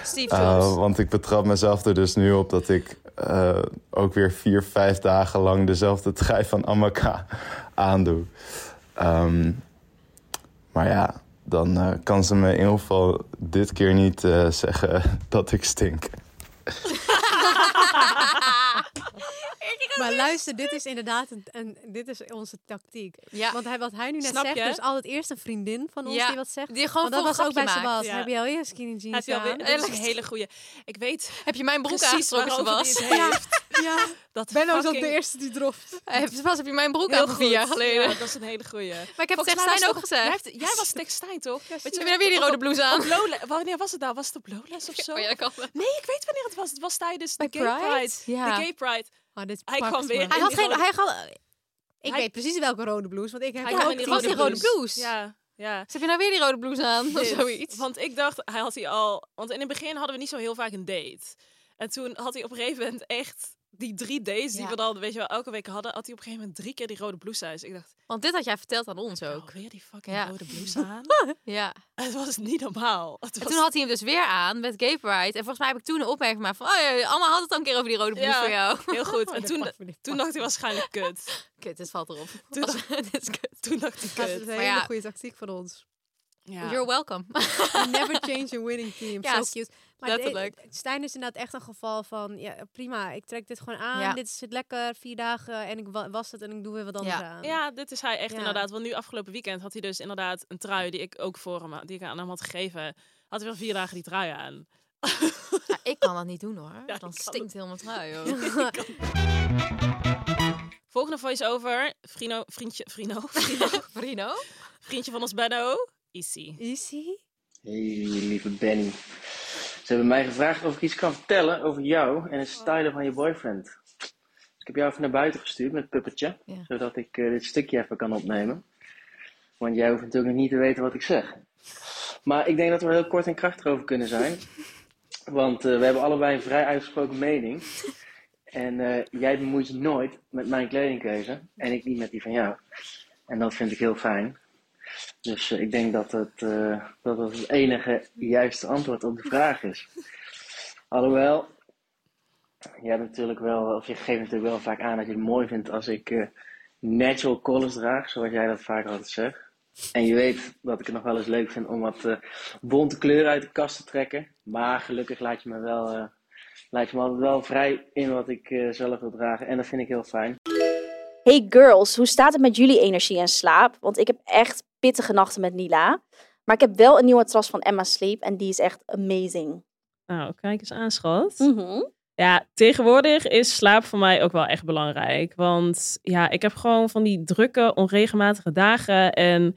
Speaker 2: Steve
Speaker 7: Eh,
Speaker 2: Jobs.
Speaker 7: want ik betrap mezelf er dus nu op dat ik eh, ook weer vier, vijf dagen lang dezelfde trui van Amaka aandoe. Ehm, maar ja, dan eh, kan ze me in ieder geval dit keer niet eh, zeggen dat ik stink.
Speaker 3: Maar luister, dit is inderdaad een, een- dit is onze tactiek.
Speaker 2: ja.
Speaker 3: Want hij, wat hij nu net
Speaker 1: Snap
Speaker 3: zegt,
Speaker 1: je?
Speaker 3: dus altijd eerst een vriendin van ons
Speaker 2: Ja,
Speaker 3: die wat zegt.
Speaker 2: die gewoon
Speaker 3: Want dat
Speaker 2: voor een
Speaker 3: was ook bij
Speaker 2: grapje maakt.
Speaker 3: Sebas.
Speaker 1: Ja.
Speaker 3: Heb je al je skinny
Speaker 1: Heb
Speaker 3: jeans
Speaker 1: je alweer?
Speaker 3: aan?
Speaker 1: Dat is een
Speaker 2: Echt?
Speaker 1: hele goeie. Ik weet
Speaker 2: Heb je mijn broek
Speaker 1: precies
Speaker 2: aangetrokken,
Speaker 1: waarover die
Speaker 2: Sebas?
Speaker 1: het heeft.
Speaker 3: Ja,
Speaker 1: Dat
Speaker 3: Benno is ook
Speaker 1: fucking-
Speaker 3: de eerste die droft.
Speaker 2: Heb, Sebas, heb je mijn broek
Speaker 1: Heel
Speaker 2: aan vier jaar
Speaker 1: goed.
Speaker 2: geleden?
Speaker 1: Ja, dat is een hele goeie.
Speaker 2: Maar ik heb het
Speaker 1: Volgens
Speaker 2: tegen
Speaker 1: mij was
Speaker 2: Stijn ook
Speaker 1: toch-
Speaker 2: gezegd.
Speaker 1: jij hebt- Jij was tegen Stijn, toch? Weet
Speaker 2: Heb je dan weer die rode blouse aan?
Speaker 1: Op Lowla- wanneer was het nou? Was het op Lowlands of zo?
Speaker 2: Oh ja, dat kan.
Speaker 1: Nee, ik weet wanneer het was. Het was tijdens de
Speaker 2: Bij
Speaker 1: Gay Pride.
Speaker 2: Pride? Ja.
Speaker 1: De Gay Pride.
Speaker 3: Oh, dit
Speaker 1: Hij
Speaker 3: pakt
Speaker 1: kwam
Speaker 3: me.
Speaker 1: weer.
Speaker 2: Hij had geen... Hij had,
Speaker 3: Ik
Speaker 1: Hij-
Speaker 3: weet precies welke rode blouse, want ik heb
Speaker 1: Hij
Speaker 2: ja,
Speaker 1: kwam
Speaker 3: ook
Speaker 1: in
Speaker 2: die
Speaker 3: die
Speaker 2: was
Speaker 3: rode
Speaker 2: die rode
Speaker 3: blouse.
Speaker 2: blouse.
Speaker 1: Ja, ja.
Speaker 2: Heb je nou weer die rode blouse aan? Of
Speaker 1: Dit.
Speaker 2: zoiets.
Speaker 1: Want ik dacht, hij had hij al. Want in het begin hadden we niet zo heel vaak een date. En toen had hij op een gegeven moment echt die drie dates die
Speaker 2: Ja.
Speaker 1: we dan, weet je wel, elke week hadden, had hij op een gegeven moment drie keer die rode blouse aan. Dus ik dacht,
Speaker 2: Want dit had jij verteld aan ons ook.
Speaker 1: ook weer die fucking
Speaker 2: Ja.
Speaker 1: rode blouse aan.
Speaker 2: Ja.
Speaker 1: het was niet normaal. Het
Speaker 2: En
Speaker 1: was-
Speaker 2: toen had hij hem dus weer aan met Gay Pride. En volgens mij heb ik toen een opmerking gemaakt van... Oh ja, Anna had het al een keer over die rode blouse
Speaker 1: Ja.
Speaker 2: voor jou.
Speaker 1: heel goed. En
Speaker 3: Oh, Dat
Speaker 1: toen,
Speaker 3: pakt me, dit
Speaker 1: toen
Speaker 3: pakt
Speaker 1: dacht hij waarschijnlijk kut.
Speaker 2: Kut, dit valt erop.
Speaker 1: Toen
Speaker 2: Als- dit is kut.
Speaker 1: Toen dacht hij
Speaker 3: me. Dat is
Speaker 1: kut.
Speaker 3: een
Speaker 2: Maar
Speaker 3: hele
Speaker 2: ja.
Speaker 3: goede tactiek van ons.
Speaker 1: Ja.
Speaker 2: You're welcome.
Speaker 3: Never change your winning team.
Speaker 2: Ja,
Speaker 3: so cute. Maar
Speaker 2: Letterlijk.
Speaker 3: de- Stijn is inderdaad echt een geval van, ja, prima, ik trek dit gewoon aan.
Speaker 2: Ja.
Speaker 3: Dit zit lekker, vier dagen en ik wa- was het en ik doe weer wat anders aan.
Speaker 1: Ja, dit is hij echt
Speaker 3: Ja.
Speaker 1: inderdaad. Want nu afgelopen weekend had hij dus inderdaad een trui die ik ook voor hem, die ik aan hem had gegeven. Had hij wel vier dagen die trui aan.
Speaker 2: Ja, ik kan dat niet doen hoor.
Speaker 1: Ja, ik kan
Speaker 2: Dan stinkt helemaal trui hoor.
Speaker 1: Volgende voice-over. Frino, vriendje, Frino, Frino.
Speaker 2: Bruno?
Speaker 1: Vriendje van ons Benno. Issy.
Speaker 3: Easy.
Speaker 8: Hey, lieve Benny. Ze hebben mij gevraagd of ik iets kan vertellen over jou en het stylen van je boyfriend. Dus ik heb jou even naar buiten gestuurd met het puppetje,
Speaker 2: Ja.
Speaker 8: zodat ik eh, dit stukje even kan opnemen. Want jij hoeft natuurlijk nog niet te weten wat ik zeg. Maar ik denk dat we er heel kort en krachtig over kunnen zijn. Want eh, we hebben allebei een vrij uitgesproken mening. En eh, jij bemoeit je nooit met mijn kledingkeuze en ik niet met die van jou. En dat vind ik heel fijn. Dus eh, ik denk dat het, eh, dat het het enige juiste antwoord op de vraag is. Alhoewel, je, hebt natuurlijk wel, of je geeft natuurlijk wel vaak aan dat je het mooi vindt als ik eh, natural colors draag, zoals jij dat vaak altijd zegt. En je weet dat ik het nog wel eens leuk vind om wat eh, bonte kleuren uit de kast te trekken. Maar gelukkig laat je me, wel, eh, laat je me altijd wel vrij in wat ik eh, zelf wil dragen. En dat vind ik heel fijn.
Speaker 9: Hey girls, hoe staat het met jullie energie en slaap? Want ik heb echt pittige nachten met Nila. Maar ik heb wel een nieuwe matras van Emma Sleep en die is echt amazing.
Speaker 1: Nou, kijk eens aan, schat.
Speaker 3: Mm.
Speaker 9: Mhm.
Speaker 1: Ja, tegenwoordig is slaap voor mij ook wel echt belangrijk. Want ja, ik heb gewoon van die drukke, onregelmatige dagen. En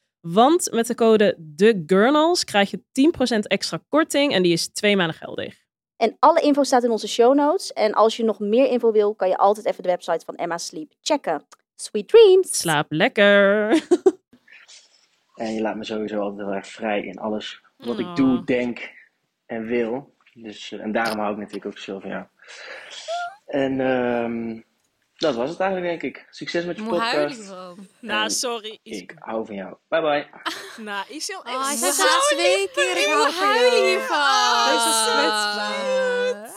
Speaker 1: Want met de code TheGurnals krijg je 10% extra korting en die is twee maanden geldig.
Speaker 9: En alle info staat in onze show notes. En als je nog meer info wil, kan je altijd even de website van Emma Sleep checken. Sweet dreams!
Speaker 1: Slaap lekker!
Speaker 8: En je laat me sowieso altijd heel erg vrij in alles wat
Speaker 1: Oh.
Speaker 8: ik doe, denk en wil. Dus, eh, en daarom hou ik natuurlijk ook veel van jou. En ehm, dat was het eigenlijk, denk ik. Succes met je
Speaker 2: Moet huilen
Speaker 8: podcast.
Speaker 2: gewoon.
Speaker 1: Nou,
Speaker 8: En
Speaker 1: sorry. Is...
Speaker 8: Ik hou van jou. Bye bye.
Speaker 1: Nou, Isiel is
Speaker 3: Oh, hij zei
Speaker 1: zo
Speaker 3: zelfs
Speaker 1: lief.
Speaker 3: twee keer ik hou van
Speaker 2: Huilen
Speaker 3: jou.
Speaker 2: hiervan.
Speaker 3: Deze is kwetsbaar.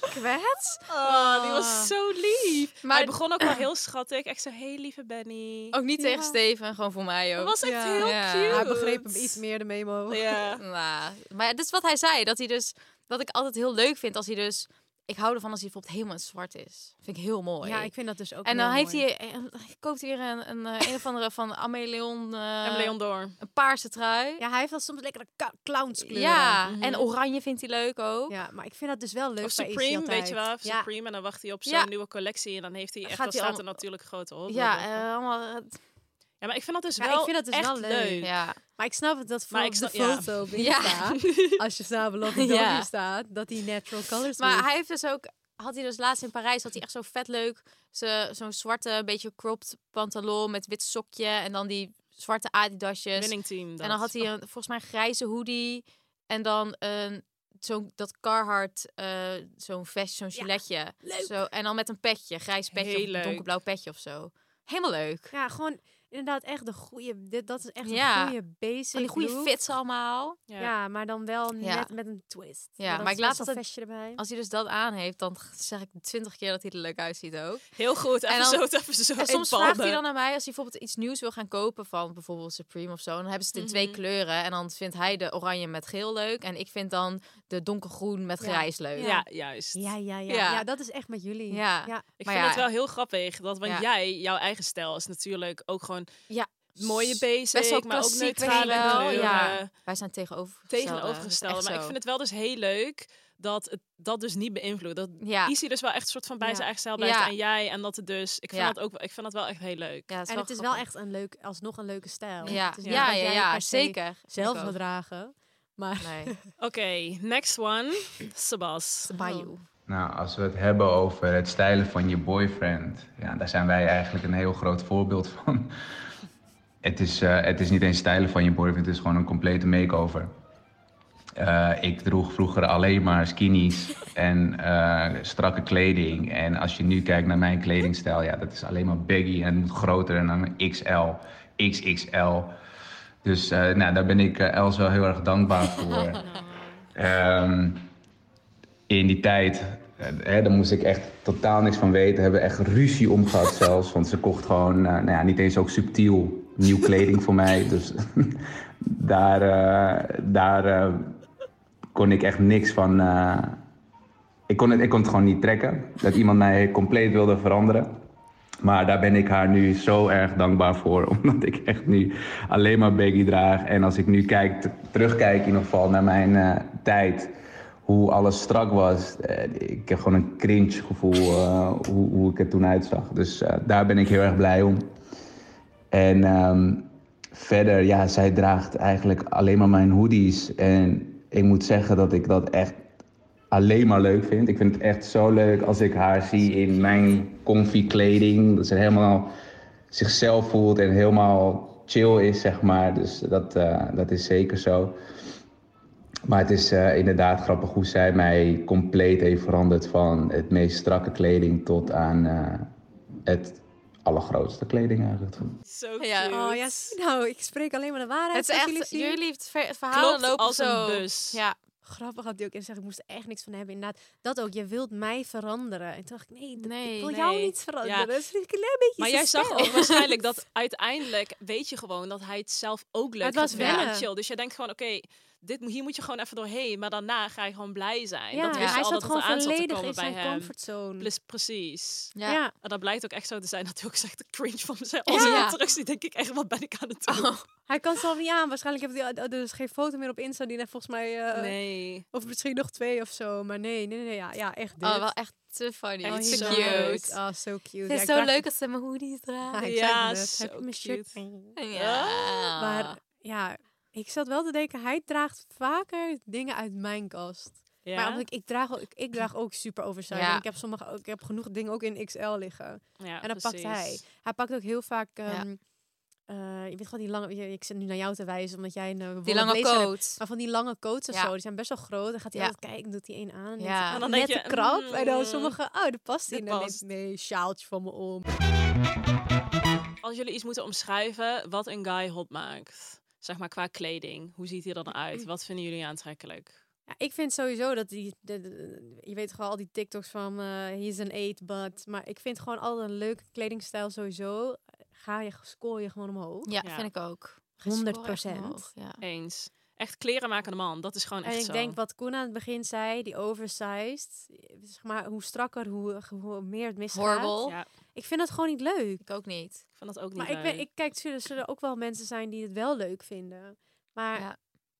Speaker 2: Kwets?
Speaker 1: Oh,
Speaker 3: "Ah."
Speaker 1: die was zo lief.
Speaker 2: Maar-
Speaker 1: hij begon ook wel heel schattig. Echt zo, hey lieve Benny.
Speaker 2: Ook niet
Speaker 3: Ja.
Speaker 2: tegen Steven, gewoon voor mij
Speaker 1: dat
Speaker 2: ook.
Speaker 1: was echt
Speaker 3: Oh, Ja.
Speaker 1: heel
Speaker 2: Ja.
Speaker 1: cute.
Speaker 3: Hij begreep hem iets meer de memo.
Speaker 1: Ja.
Speaker 2: Nou, maar dat is wat hij zei. Dat hij dus, wat ik altijd heel leuk vind, als hij dus, ik hou ervan als hij bijvoorbeeld helemaal in het zwart is. Vind ik heel mooi.
Speaker 3: Ja, ik vind dat dus ook
Speaker 2: en dan
Speaker 3: heel
Speaker 2: heeft
Speaker 3: mooi.
Speaker 2: hij, eh, hij koopt hier een, een, eh, een of andere van Ameleon, eh,
Speaker 1: En Leon door.
Speaker 2: een paarse trui.
Speaker 3: Ja, hij heeft wel soms lekkere ka- clownskleuren.
Speaker 2: Ja,
Speaker 1: Mhm.
Speaker 2: en oranje vindt hij leuk ook.
Speaker 3: Ja, maar ik vind dat dus wel leuk
Speaker 1: Of
Speaker 3: bij Izzy
Speaker 1: Supreme, weet je wel.
Speaker 3: altijd.
Speaker 1: Of
Speaker 3: Ja,
Speaker 1: Supreme. En dan wacht hij op zo'n
Speaker 2: Ja.
Speaker 1: nieuwe collectie. En dan heeft hij echt,
Speaker 2: Gaat
Speaker 1: dan
Speaker 2: hij
Speaker 1: staat er
Speaker 2: al-
Speaker 1: natuurlijk groot op.
Speaker 2: Ja,
Speaker 1: Dat-
Speaker 2: eh, allemaal. eh,
Speaker 1: ja, maar ik vind dat dus
Speaker 3: Ja, ik
Speaker 1: wel
Speaker 3: vind dat dus
Speaker 1: echt
Speaker 3: wel leuk.
Speaker 2: ja.
Speaker 3: maar ik snap het dat voor
Speaker 1: Maar
Speaker 3: op
Speaker 1: ik
Speaker 3: de
Speaker 1: snap- ja.
Speaker 3: foto op
Speaker 2: Ja.
Speaker 3: Insta, als je samen Lovely Doggy
Speaker 2: Ja.
Speaker 3: staat, dat die natural colors
Speaker 2: Maar
Speaker 1: Hm.
Speaker 3: doet.
Speaker 2: hij heeft dus ook, had hij dus laatst in Parijs, had hij echt zo vet leuk, ze- zo'n zwarte, beetje cropped pantalon met wit sokje en dan die zwarte adidasjes.
Speaker 1: Winning team.
Speaker 2: Dus- En dan had hij een, volgens mij een grijze hoodie en dan een, zo'n, dat Carhartt, eh, zo'n vest, zo'n giletje. Zo, en dan met een petje, grijs petje
Speaker 1: Heel
Speaker 2: of een
Speaker 1: leuk.
Speaker 2: donkerblauw petje of zo. Helemaal leuk.
Speaker 3: Ja, gewoon inderdaad echt de goede... Dit, dat is echt
Speaker 2: Ja.
Speaker 3: een goede basic
Speaker 2: Van die goede
Speaker 3: look.
Speaker 2: fits allemaal.
Speaker 3: Ja.
Speaker 1: Ja.
Speaker 3: maar dan wel
Speaker 2: Ja.
Speaker 3: net met een twist.
Speaker 2: Ja,
Speaker 3: dan
Speaker 2: maar ik
Speaker 3: is best
Speaker 2: laat
Speaker 3: wel
Speaker 2: altijd-
Speaker 3: vestje erbij.
Speaker 2: Als hij dus dat aan heeft, dan zeg ik twintig keer dat hij er leuk uitziet ook.
Speaker 1: Heel goed. Even
Speaker 2: En dan-
Speaker 1: zo, even zo.
Speaker 2: En soms
Speaker 1: ballen.
Speaker 2: vraagt hij dan naar mij als hij bijvoorbeeld iets nieuws wil gaan kopen van bijvoorbeeld Supreme of zo. Dan hebben ze het in twee
Speaker 1: Mhm.
Speaker 3: Mm-hmm.
Speaker 2: kleuren. En dan vindt hij de oranje met geel leuk. En ik vind dan de donkergroen met
Speaker 3: Ja.
Speaker 2: grijs leuk.
Speaker 1: Ja, juist.
Speaker 3: Ja, ja, ja, ja.
Speaker 2: Ja.
Speaker 3: dat is echt met jullie.
Speaker 2: Ja.
Speaker 3: ja.
Speaker 1: Ik
Speaker 2: Maar
Speaker 1: vind het
Speaker 2: ja.
Speaker 1: wel heel grappig. Dat, want
Speaker 2: Ja.
Speaker 1: jij, jouw eigen stijl is natuurlijk ook gewoon
Speaker 2: Ja.
Speaker 1: mooie
Speaker 2: S-
Speaker 1: basic.
Speaker 2: best wel
Speaker 1: maar ook
Speaker 2: klassiek, weet
Speaker 1: neutrale
Speaker 2: je wel.
Speaker 1: kleuren.
Speaker 2: Ja. Wij zijn tegenovergesteld.
Speaker 1: Tegenovergestelde. Maar ik vind het wel dus heel leuk dat het, dat dus niet beïnvloedt. Dat
Speaker 2: Ja,
Speaker 1: Easy dus wel echt een soort van bij
Speaker 3: Ja.
Speaker 1: zijn eigen stijl blijft
Speaker 2: Ja.
Speaker 1: en jij. En dat het dus... Ik vind,
Speaker 2: Ja.
Speaker 1: dat, ook, wel- ik vind dat wel echt heel leuk.
Speaker 2: ja
Speaker 3: En het is wel echt een leuk, alsnog een leuke stijl.
Speaker 2: Ja, ja,
Speaker 3: Het is niet
Speaker 2: ja,
Speaker 3: dat
Speaker 2: ja,
Speaker 3: jij per se
Speaker 2: zeker.
Speaker 3: Zelf
Speaker 2: Ik
Speaker 3: wil
Speaker 2: ook.
Speaker 3: dragen. Maar
Speaker 2: Nee,
Speaker 1: Oké, next one. Sebas.
Speaker 2: Bayou.
Speaker 3: Oh,
Speaker 10: Nou, als we het hebben over het stijlen van je boyfriend, ja, daar zijn wij eigenlijk een heel groot voorbeeld van. Het is, eh, het is niet eens stijlen van je boyfriend, het is gewoon een complete makeover. Eh, ik droeg vroeger alleen maar skinnies en eh, strakke kleding. En als je nu kijkt naar mijn kledingstijl, ja, dat is alleen maar baggy en het moet groter en dan XL, XXL. Dus eh, nou, daar ben ik eh, Els wel heel erg dankbaar voor. Ehm, in die tijd, eh, hè, daar moest ik echt totaal niks van weten. Hebben echt ruzie om gehad zelfs. Want ze kocht gewoon, eh, nou ja, niet eens ook subtiel nieuw kleding voor mij. Dus daar, eh, daar eh, kon ik echt niks van. eh, ik, kon het, ik kon het gewoon niet trekken. Dat iemand mij compleet wilde veranderen. Maar daar ben ik haar nu zo erg dankbaar voor. Omdat ik echt nu alleen maar baggy draag. En als ik nu kijk, t- terugkijk in ieder geval naar mijn eh, tijd. Hoe alles strak was. eh, ik heb gewoon een cringe gevoel eh, hoe, hoe ik er toen uitzag. Dus eh, daar ben ik heel erg blij om. En ehm, verder, ja, zij draagt eigenlijk alleen maar mijn hoodies. En ik moet zeggen dat ik dat echt alleen maar leuk vind. Ik vind het echt zo leuk als ik haar zie in mijn comfy kleding. Dat ze helemaal zichzelf voelt en helemaal chill is, zeg maar. Dus dat, eh, dat is zeker zo. Maar het is eh, inderdaad grappig hoe zij mij compleet heeft veranderd van het meest strakke kleding tot aan eh, het allergrootste kleding eigenlijk.
Speaker 1: Zo cute.
Speaker 2: Ja.
Speaker 3: Oh ja, zie nou, ik spreek alleen maar de waarheid.
Speaker 2: Het is
Speaker 3: wat
Speaker 2: echt,
Speaker 3: zien.
Speaker 2: jullie het ver- verhalen
Speaker 1: Klopt
Speaker 2: lopen
Speaker 1: als
Speaker 2: zo.
Speaker 1: een bus.
Speaker 2: Ja,
Speaker 3: Grappig had die ook in zeggen, ik moest er echt niks van hebben. Inderdaad, dat ook. Je wilt mij veranderen. En toen dacht ik, nee, dat-
Speaker 2: Nee,
Speaker 3: ik wil jou
Speaker 1: nee.
Speaker 3: niet veranderen.
Speaker 1: Ja.
Speaker 3: Dat is een klein beetje
Speaker 1: Maar jij zag ook waarschijnlijk dat uiteindelijk weet je gewoon dat hij het zelf ook leuk
Speaker 3: Het was
Speaker 1: vindt. Ja,
Speaker 3: wennen.
Speaker 1: chill. Dus jij denkt gewoon, oké, dit, moet- hier moet je gewoon even doorheen. Maar daarna ga je gewoon blij zijn.
Speaker 3: Ja,
Speaker 1: dat wist je
Speaker 3: hij
Speaker 1: al
Speaker 3: zat
Speaker 1: dat het
Speaker 3: gewoon
Speaker 1: eraan zat te
Speaker 3: volledig
Speaker 1: komen
Speaker 3: in
Speaker 1: bij
Speaker 3: zijn
Speaker 1: hem.
Speaker 3: comfortzone.
Speaker 1: Plus, precies.
Speaker 2: Ja.
Speaker 3: ja.
Speaker 1: En dat blijkt ook echt zo te zijn dat hij ook zegt, de cringe van mezelf.
Speaker 2: Ja. Oh.
Speaker 1: Als ik
Speaker 2: Ja.
Speaker 1: dat terugzie, denk ik echt, wat ben ik aan het doen?
Speaker 3: hij kan zelf niet aan. Waarschijnlijk heeft hij er is oh, dus geen foto meer op Insta die hij volgens mij... eh,
Speaker 1: nee.
Speaker 3: Of misschien nog twee of zo. Maar nee, nee, nee. nee, Ja, ja echt dit.
Speaker 2: Oh, wel echt te funny.
Speaker 1: Echt
Speaker 2: Echt
Speaker 1: zo
Speaker 2: zo
Speaker 3: leuk.
Speaker 2: cute.
Speaker 3: Oh, zo cute.
Speaker 2: Het is zo leuk dat ze mijn hoodies
Speaker 3: Ja,
Speaker 2: dragen.
Speaker 3: ik
Speaker 1: Ja,
Speaker 3: zei het net. Heb
Speaker 1: zo
Speaker 3: ik mijn shirt
Speaker 1: cute.
Speaker 3: aan?
Speaker 2: Ja.
Speaker 3: Maar ja, ik zat wel te denken, hij draagt vaker dingen uit mijn kast.
Speaker 1: Ja.
Speaker 3: Maar omdat ik, ik, draag ook, ik, ik draag ook super oversized.
Speaker 2: Ja.
Speaker 3: En Ik, heb sommige, ook- ik heb genoeg dingen ook in XL liggen.
Speaker 1: Ja,
Speaker 3: en dat pakt hij.
Speaker 1: precies.
Speaker 3: Hij pakt ook heel vaak... ehm, eh, je weet gewoon die lange... je- Ik zit nu naar jou te wijzen, omdat jij een eh,
Speaker 2: die
Speaker 3: wollen
Speaker 2: lange
Speaker 3: blazer hebt.
Speaker 2: coat.
Speaker 3: Maar van die lange coats of
Speaker 2: Ja.
Speaker 3: zo, die zijn best wel groot. Dan gaat hij
Speaker 2: Ja.
Speaker 3: altijd kijken, doet hij één aan. En
Speaker 2: Ja.
Speaker 3: ja.
Speaker 2: En
Speaker 1: dan
Speaker 3: net
Speaker 1: denk je,
Speaker 3: te krap. En dan
Speaker 1: mm,
Speaker 3: sommige, oh, dat past
Speaker 1: dit
Speaker 3: niet. En dan
Speaker 1: past.
Speaker 3: denk ik, nee, sjaaltje van me om.
Speaker 1: Als jullie iets moeten omschrijven wat een guy hot maakt, zeg maar qua kleding, hoe ziet hij er dan
Speaker 3: Mm.
Speaker 1: uit? Wat vinden jullie aantrekkelijk?
Speaker 3: Ja, ik vind sowieso dat die, de- de- je weet gewoon al die TikToks van eh he's an eight but, maar ik vind gewoon altijd een leuke kledingstijl sowieso. Ga je score je gewoon omhoog.
Speaker 2: Ja,
Speaker 1: Ja.
Speaker 2: vind ik ook.
Speaker 3: 100%.
Speaker 2: Scoren echt omhoog, Ja.
Speaker 1: Eens. Echt kleren maken een man, dat is gewoon echt
Speaker 3: En ik
Speaker 1: zo.
Speaker 3: denk wat Koen aan het begin zei, die oversized, zeg maar hoe strakker, hoe, hoe meer het misgaat.
Speaker 2: Horrible.
Speaker 1: Ja,
Speaker 3: Ik vind dat gewoon niet leuk.
Speaker 2: Ik ook niet.
Speaker 1: ik vind dat ook niet
Speaker 3: Maar ik, ben, ik kijk, zullen, zullen ook wel mensen zijn die het wel leuk vinden. Maar
Speaker 2: Ja.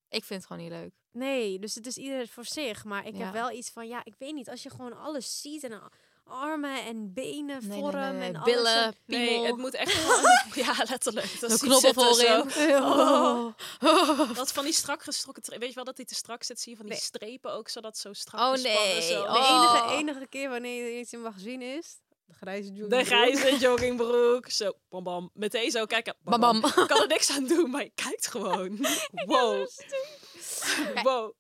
Speaker 2: Ik vind het gewoon niet leuk.
Speaker 3: Nee, dus het is ieder voor zich. Maar ik
Speaker 2: Ja.
Speaker 3: heb wel iets van, ja, ik weet niet. Als je gewoon alles ziet en a- armen en benen,
Speaker 2: Nee, nee,
Speaker 3: vorm
Speaker 2: nee,
Speaker 3: en
Speaker 2: nee.
Speaker 3: alles.
Speaker 2: Billen, piemel.
Speaker 1: Nee, het moet echt gewoon- Ja, letterlijk. Dat
Speaker 2: Zo'n
Speaker 1: zie ik
Speaker 2: knobbel
Speaker 1: zitten zo.
Speaker 2: voorin. Oh.
Speaker 1: Dat van die strak gestrokken... tre- Weet je wel dat die te strak zit? Zie je van die
Speaker 3: Nee.
Speaker 1: strepen ook, zodat zo strak
Speaker 2: Oh,
Speaker 1: gespannen,
Speaker 2: nee.
Speaker 1: zo.
Speaker 2: Oh.
Speaker 3: De enige,
Speaker 2: Oh.
Speaker 3: enige keer wanneer je iets in mag zien is... De grijze
Speaker 1: De
Speaker 3: joggingbroek.
Speaker 1: grijze joggingbroek. Zo, bam bam. Meteen zo kijken. Bam bam.
Speaker 2: Babam.
Speaker 1: Ik kan er niks aan doen, maar je kijkt gewoon. wow. wow.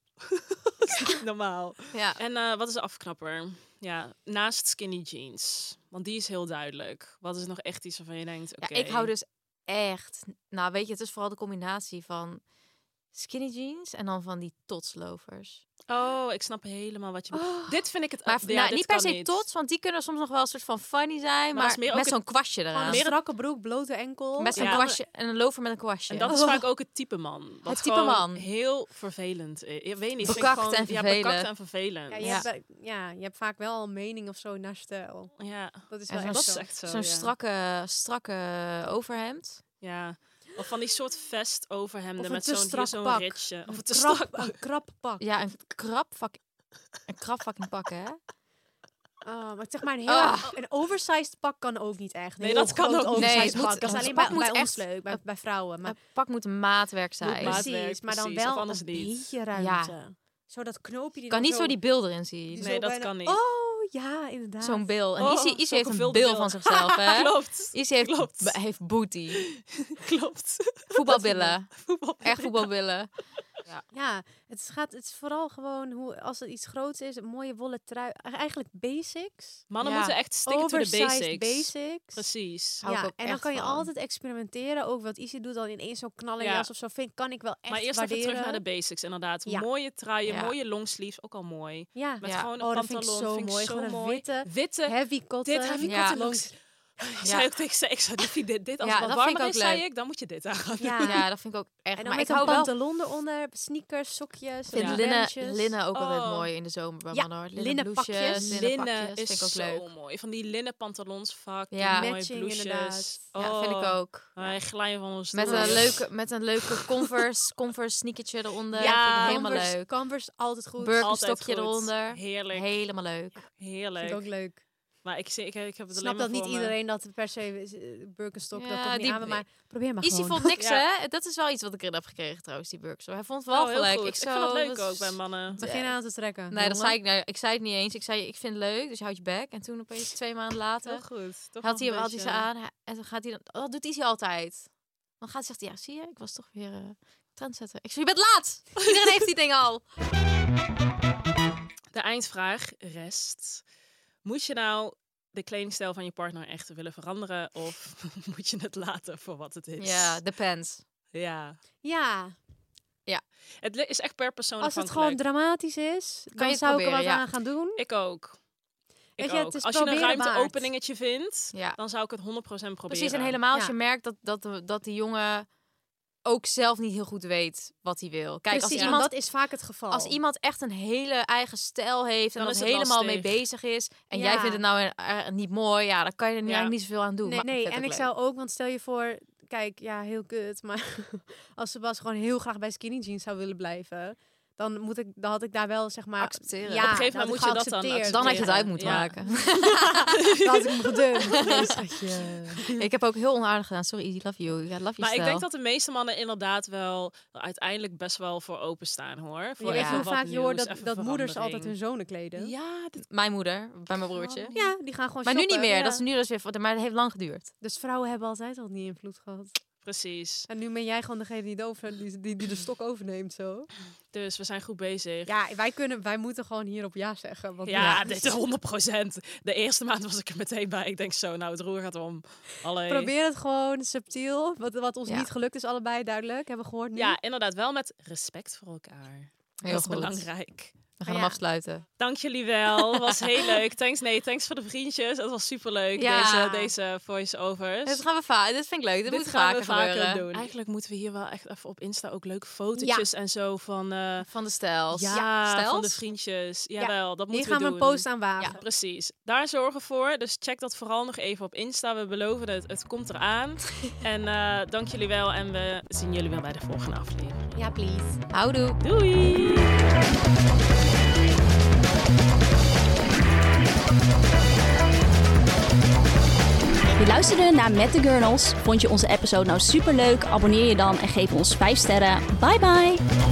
Speaker 1: Dat is niet normaal.
Speaker 2: Ja.
Speaker 1: En eh, wat is de afknapper? Ja, naast skinny jeans. Want die is heel duidelijk. Wat is nog echt iets waarvan je denkt, oké.
Speaker 2: Ja, ik hou dus echt. Nou, weet je, het is vooral de combinatie van skinny jeans en dan van die totslovers.
Speaker 1: Oh, ik snap helemaal wat je bedoelt. Dit vind ik het...
Speaker 2: Oh. Maar
Speaker 1: Oh, ja,
Speaker 2: nou,
Speaker 1: dit
Speaker 2: niet per
Speaker 1: kan
Speaker 2: se tots, want die kunnen soms nog wel een soort van funny zijn,
Speaker 1: Maar dat
Speaker 2: maar,
Speaker 1: is meer ook
Speaker 2: met
Speaker 1: het-
Speaker 2: zo'n kwastje
Speaker 3: Gewoon
Speaker 2: eraan.
Speaker 3: een strakke broek, blote enkel.
Speaker 2: Met zo'n
Speaker 1: Ja.
Speaker 2: kwastje en een lover met een kwastje.
Speaker 1: En dat is vaak ook het type man. Wat
Speaker 2: Oh. Het type
Speaker 1: gewoon
Speaker 2: man.
Speaker 1: heel vervelend is. Ik weet niet. vind ik
Speaker 2: Bekakt
Speaker 1: gewoon,
Speaker 2: en
Speaker 1: Ja, bekakt
Speaker 2: vervelend.
Speaker 1: en vervelend.
Speaker 3: Ja, je,
Speaker 2: Ja.
Speaker 3: Hebt, wel- ja, je hebt vaak wel al een mening of zo naar stijl.
Speaker 1: ja.
Speaker 3: Dat is
Speaker 2: En
Speaker 3: wel echt
Speaker 2: zo'n
Speaker 1: Dat
Speaker 3: zo.
Speaker 1: is echt zo.
Speaker 2: Zo'n
Speaker 1: ja.
Speaker 2: strakke, strakke overhemd.
Speaker 1: Ja. Of van die soort vest
Speaker 3: Of
Speaker 1: overhemden
Speaker 3: een
Speaker 1: met
Speaker 3: te
Speaker 1: zo'n hier
Speaker 3: strak
Speaker 1: zo'n
Speaker 3: pak.
Speaker 1: ritje. Of
Speaker 3: Een
Speaker 1: het te
Speaker 3: krap-
Speaker 1: strak.
Speaker 3: Een krap pak.
Speaker 2: Ja, een krap vak. Een krap fucking pakken, hè?
Speaker 3: Ah, maar zeg maar, een, heel,
Speaker 2: Ah.
Speaker 3: erg- een oversized pak kan ook niet echt. Een
Speaker 1: Nee,
Speaker 3: heel
Speaker 1: dat kan
Speaker 3: groot
Speaker 1: ook niet.
Speaker 3: oversized
Speaker 2: Nee, het moet-
Speaker 3: pak. Dat is
Speaker 2: het
Speaker 3: alleen
Speaker 2: pak
Speaker 3: bij,
Speaker 2: moet
Speaker 3: bij ons
Speaker 2: echt-
Speaker 3: leuk, bij, bij vrouwen. Maar
Speaker 2: Een pak moet een maatwerk zijn.
Speaker 1: maatwerk,
Speaker 3: Precies, maar dan
Speaker 1: precies,
Speaker 3: wel
Speaker 1: of anders
Speaker 3: een
Speaker 1: niet.
Speaker 3: beetje ruimte. Zo dat knoopje die
Speaker 2: kan
Speaker 3: dan
Speaker 2: niet zo die bil erin zien.
Speaker 3: die
Speaker 1: Nee, dat kan niet.
Speaker 3: Oh, ja, inderdaad.
Speaker 2: Zo'n bil. En
Speaker 1: Oh,
Speaker 2: Izzy, Izzy
Speaker 1: zo'n
Speaker 2: heeft een
Speaker 1: gevulde
Speaker 2: bil
Speaker 1: bil.
Speaker 2: van zichzelf, hè?
Speaker 1: Klopt.
Speaker 2: Izzy heeft,
Speaker 1: Klopt.
Speaker 2: b- heeft booty.
Speaker 1: Klopt.
Speaker 2: Voetbalbillen.
Speaker 1: Voetbal.
Speaker 2: Echt voetbalbillen.
Speaker 3: Ja, het gaat het is vooral gewoon hoe als het iets groots is, een mooie wollen trui, e- eigenlijk basics.
Speaker 1: Mannen
Speaker 2: Ja.
Speaker 1: moeten echt sticken to the
Speaker 3: Oversized
Speaker 1: basics.
Speaker 3: basics. basics.
Speaker 1: Precies.
Speaker 2: Hou ik
Speaker 3: Ja,
Speaker 2: ook
Speaker 3: en dan
Speaker 2: echt
Speaker 3: kan je
Speaker 2: van.
Speaker 3: altijd experimenteren. Ook wat Izzy doet dan ineens zo'n knallenjas of zo. Vind, kan ik wel echt
Speaker 1: maar eerst
Speaker 3: waarderen.
Speaker 1: even terug naar de basics, inderdaad.
Speaker 3: Ja.
Speaker 1: Mooie truien,
Speaker 2: Ja.
Speaker 1: mooie longsleeves, ook al mooi.
Speaker 3: Ja,
Speaker 1: Met
Speaker 2: Ja.
Speaker 1: gewoon een
Speaker 3: oh, dat vind ik
Speaker 1: pantalon,
Speaker 3: zo mooi.
Speaker 1: zo
Speaker 3: Gewoon een
Speaker 1: mooi.
Speaker 3: witte,
Speaker 1: Witte,
Speaker 3: heavy cotton.
Speaker 1: dit heavy
Speaker 2: Ja.
Speaker 1: cotton
Speaker 2: cotton
Speaker 3: longs-
Speaker 1: longs. Ik zei ook tegen ze, ik zei, Liefie, dit, dit als
Speaker 2: Ja,
Speaker 1: het wat
Speaker 2: dat vind ik
Speaker 1: warmer is,
Speaker 2: ook
Speaker 1: zei
Speaker 2: leuk.
Speaker 1: ik, dan moet je dit aan.
Speaker 3: Ja.
Speaker 2: Ja, dat vind ik ook echt.
Speaker 3: En dan
Speaker 2: maar
Speaker 3: met
Speaker 2: ik
Speaker 3: een
Speaker 2: hou wel.
Speaker 3: pantalon eronder, sneakers, sokjes,
Speaker 2: Ik vind
Speaker 1: Ja.
Speaker 2: linnen,
Speaker 3: bandjes.
Speaker 2: linnen ook altijd
Speaker 1: Oh.
Speaker 2: mooi in de zomer bij
Speaker 3: Ja,
Speaker 2: mannen hoor. Linnen,
Speaker 3: linnen
Speaker 2: blouses,
Speaker 3: pakjes.
Speaker 2: linnen
Speaker 1: Linnen
Speaker 2: pakjes
Speaker 1: is
Speaker 2: vind ik ook
Speaker 1: zo
Speaker 2: leuk.
Speaker 1: mooi. Van die linnen pantalons, vaak.
Speaker 2: Ja.
Speaker 1: die mooie
Speaker 3: Matching,
Speaker 1: blouses.
Speaker 3: inderdaad.
Speaker 2: Ja, vind ik
Speaker 1: Oh.
Speaker 2: ook.
Speaker 1: Wij glijden van ons
Speaker 2: Met
Speaker 1: stoel.
Speaker 2: een leuke, met een leuke Converse, Converse sneakertje eronder.
Speaker 1: Ja,
Speaker 2: vind ik helemaal
Speaker 3: Converse,
Speaker 2: leuk.
Speaker 3: Converse, altijd goed.
Speaker 2: Burger-
Speaker 1: Altijd
Speaker 2: stokje
Speaker 1: goed.
Speaker 2: eronder.
Speaker 1: Heerlijk.
Speaker 2: Helemaal leuk.
Speaker 3: Vind
Speaker 1: Heerlijk.
Speaker 3: ik ook leuk.
Speaker 1: Maar ik, zie- ik, ik heb
Speaker 3: Ik
Speaker 1: het
Speaker 3: snap
Speaker 1: alleen maar
Speaker 3: dat niet
Speaker 1: voor me.
Speaker 3: iedereen dat per se eh, Birkenstock dat
Speaker 2: Ja,
Speaker 3: komt niet
Speaker 2: die-
Speaker 3: aan, maar probeer maar
Speaker 2: Izzy
Speaker 3: gewoon.
Speaker 2: vond niks,
Speaker 1: Ja.
Speaker 2: hè? Dat is wel iets wat ik erin heb gekregen trouwens, die Burkso. Hij vond het wel
Speaker 1: Oh, heel
Speaker 2: gelijk.
Speaker 1: goed.
Speaker 2: Ik, zo,
Speaker 1: vind dat leuk
Speaker 2: wat-
Speaker 1: ook bij mannen.
Speaker 3: Begin aan te trekken.
Speaker 2: Nee, dat
Speaker 3: jongen.
Speaker 2: zei ik, nou, ik zei het niet eens. Ik zei, ik vind het leuk, dus je houdt je bek. En toen opeens twee maanden later
Speaker 1: Heel goed. Toch
Speaker 2: had hij hem
Speaker 1: nog een
Speaker 2: altijd
Speaker 1: beetje-
Speaker 2: zo aan. Hij- En dan gaat hij dan, dat doet hij altijd. Dan gaat hij zegt hij, ja, zie je, ik was toch weer eh trendsetter. Ik zei, je bent laat! Iedereen heeft die ding al.
Speaker 1: De eindvraag rest. Moet je nou de kledingstijl van je partner echt willen veranderen? Of moet je het laten voor wat het is?
Speaker 2: Ja, depends.
Speaker 1: ja.
Speaker 3: Ja,
Speaker 1: Het li- is echt per persoon
Speaker 3: als het gewoon
Speaker 1: afhankelijk.
Speaker 3: dramatisch is,
Speaker 2: je
Speaker 3: dan
Speaker 2: het
Speaker 3: zou ik er
Speaker 2: proberen,
Speaker 3: wat
Speaker 2: ja.
Speaker 3: aan gaan doen.
Speaker 1: Ik ook. Ik
Speaker 3: Weet je, het
Speaker 1: ook.
Speaker 3: is
Speaker 1: Als je een
Speaker 3: proberen waard.
Speaker 1: ruimteopeningetje vindt,
Speaker 2: Ja.
Speaker 1: dan zou ik het 100% proberen.
Speaker 2: Precies, en helemaal als
Speaker 3: Ja.
Speaker 2: je merkt dat, dat, de- dat die jongen ook zelf niet heel goed weet wat hij wil. Kijk,
Speaker 3: Precies,
Speaker 2: als
Speaker 3: en
Speaker 2: iemand
Speaker 3: dat is vaak het geval.
Speaker 2: als iemand echt een hele eigen stijl heeft en
Speaker 1: Dan
Speaker 2: er
Speaker 1: is het
Speaker 2: helemaal mee
Speaker 1: lastig.
Speaker 2: bezig is en
Speaker 3: Ja.
Speaker 2: jij vindt het nou eh, eh, niet mooi, ja, dan kan je er nu
Speaker 1: Ja.
Speaker 2: eigenlijk niet zoveel aan doen.
Speaker 3: Nee,
Speaker 2: Maar
Speaker 3: nee.
Speaker 2: vind
Speaker 3: en
Speaker 2: het
Speaker 3: ik
Speaker 2: ook
Speaker 3: zou ook, want stel je voor, kijk, ja, heel kut, maar als Sebas gewoon heel graag bij skinny jeans zou willen blijven, dan moet ik, dan had ik daar wel zeg maar
Speaker 2: Accepteren.
Speaker 3: Ja,
Speaker 2: Op
Speaker 1: een gegeven
Speaker 3: dan
Speaker 1: moment
Speaker 3: had ik
Speaker 1: moet je dat dan
Speaker 3: geaccepteerd.
Speaker 2: leuk. Dan had je het uit
Speaker 1: Ja.
Speaker 2: moeten
Speaker 1: Ja.
Speaker 2: maken.
Speaker 3: Dan had ik hem gedumpt. Nee, schatje.
Speaker 2: ik heb ook heel onaardig gedaan. Sorry, Easy, love you. Ja, love you
Speaker 1: Maar ik
Speaker 2: stijl.
Speaker 1: denk dat de meeste mannen inderdaad wel er uiteindelijk best wel voor openstaan hoor. Voor
Speaker 3: Je weet
Speaker 1: even
Speaker 3: hoe
Speaker 1: wat
Speaker 3: vaak je hoort
Speaker 1: nieuws,
Speaker 3: dat,
Speaker 1: even
Speaker 3: dat moeders altijd hun
Speaker 1: verandering.
Speaker 3: zonen kleden. Ja,
Speaker 1: Ja, dat-
Speaker 2: Mijn moeder, bij mijn broertje.
Speaker 3: die gaan gewoon
Speaker 2: Maar nu
Speaker 3: shoppen.
Speaker 2: niet meer.
Speaker 3: Ja.
Speaker 2: Dat is nu dus weer... Maar dat heeft lang geduurd.
Speaker 3: Dus vrouwen hebben altijd al die invloed gehad.
Speaker 1: precies.
Speaker 3: En nu ben jij gewoon degene die, de over, die, die, die de stok overneemt zo.
Speaker 1: Dus we zijn goed bezig. Ja,
Speaker 3: Ja, wij, kunnen, wij moeten gewoon hierop ja zeggen. Want
Speaker 1: dit is 100 De eerste maand was ik er meteen bij. Ik denk zo, nou het roer gaat om. Allee.
Speaker 3: Probeer het gewoon subtiel. Wat, wat ons
Speaker 2: Ja.
Speaker 3: niet gelukt is, allebei duidelijk. Hebben we gehoord nu.
Speaker 1: Ja, inderdaad wel met respect voor elkaar.
Speaker 2: Heel
Speaker 1: dat is
Speaker 2: goed.
Speaker 1: belangrijk.
Speaker 2: We
Speaker 3: Maar
Speaker 2: gaan
Speaker 3: ja.
Speaker 2: hem afsluiten.
Speaker 1: Dank jullie wel. Was heel leuk. Thanks, nee, thanks voor de vriendjes. Het was superleuk,
Speaker 2: Ja.
Speaker 1: deze, deze voice-overs.
Speaker 2: Dit gaan we vaak. Dit vind ik leuk. Dit, moet
Speaker 1: gaan we
Speaker 2: vaker, gebeuren.
Speaker 1: doen. Eigenlijk moeten we hier wel echt even op Insta ook leuke fotootjes en zo van, eh,
Speaker 2: Van de stijls.
Speaker 1: ja,
Speaker 2: stijls?
Speaker 1: van de vriendjes. Jawel, dat
Speaker 3: Hier
Speaker 1: moeten
Speaker 3: gaan we
Speaker 1: doen.
Speaker 3: een post aan wagen.
Speaker 1: Ja, precies. Daar zorgen we voor. Dus check dat vooral nog even op Insta. We beloven het. Het komt eraan. en eh, dank jullie wel. En we zien jullie wel bij de volgende aflevering.
Speaker 3: ja please.
Speaker 2: Houdoe.
Speaker 1: Doei!
Speaker 9: Je luisterde naar Met de Gurnals. Vond je onze episode nou superleuk? Abonneer je dan en geef ons 5 sterren. Bye bye!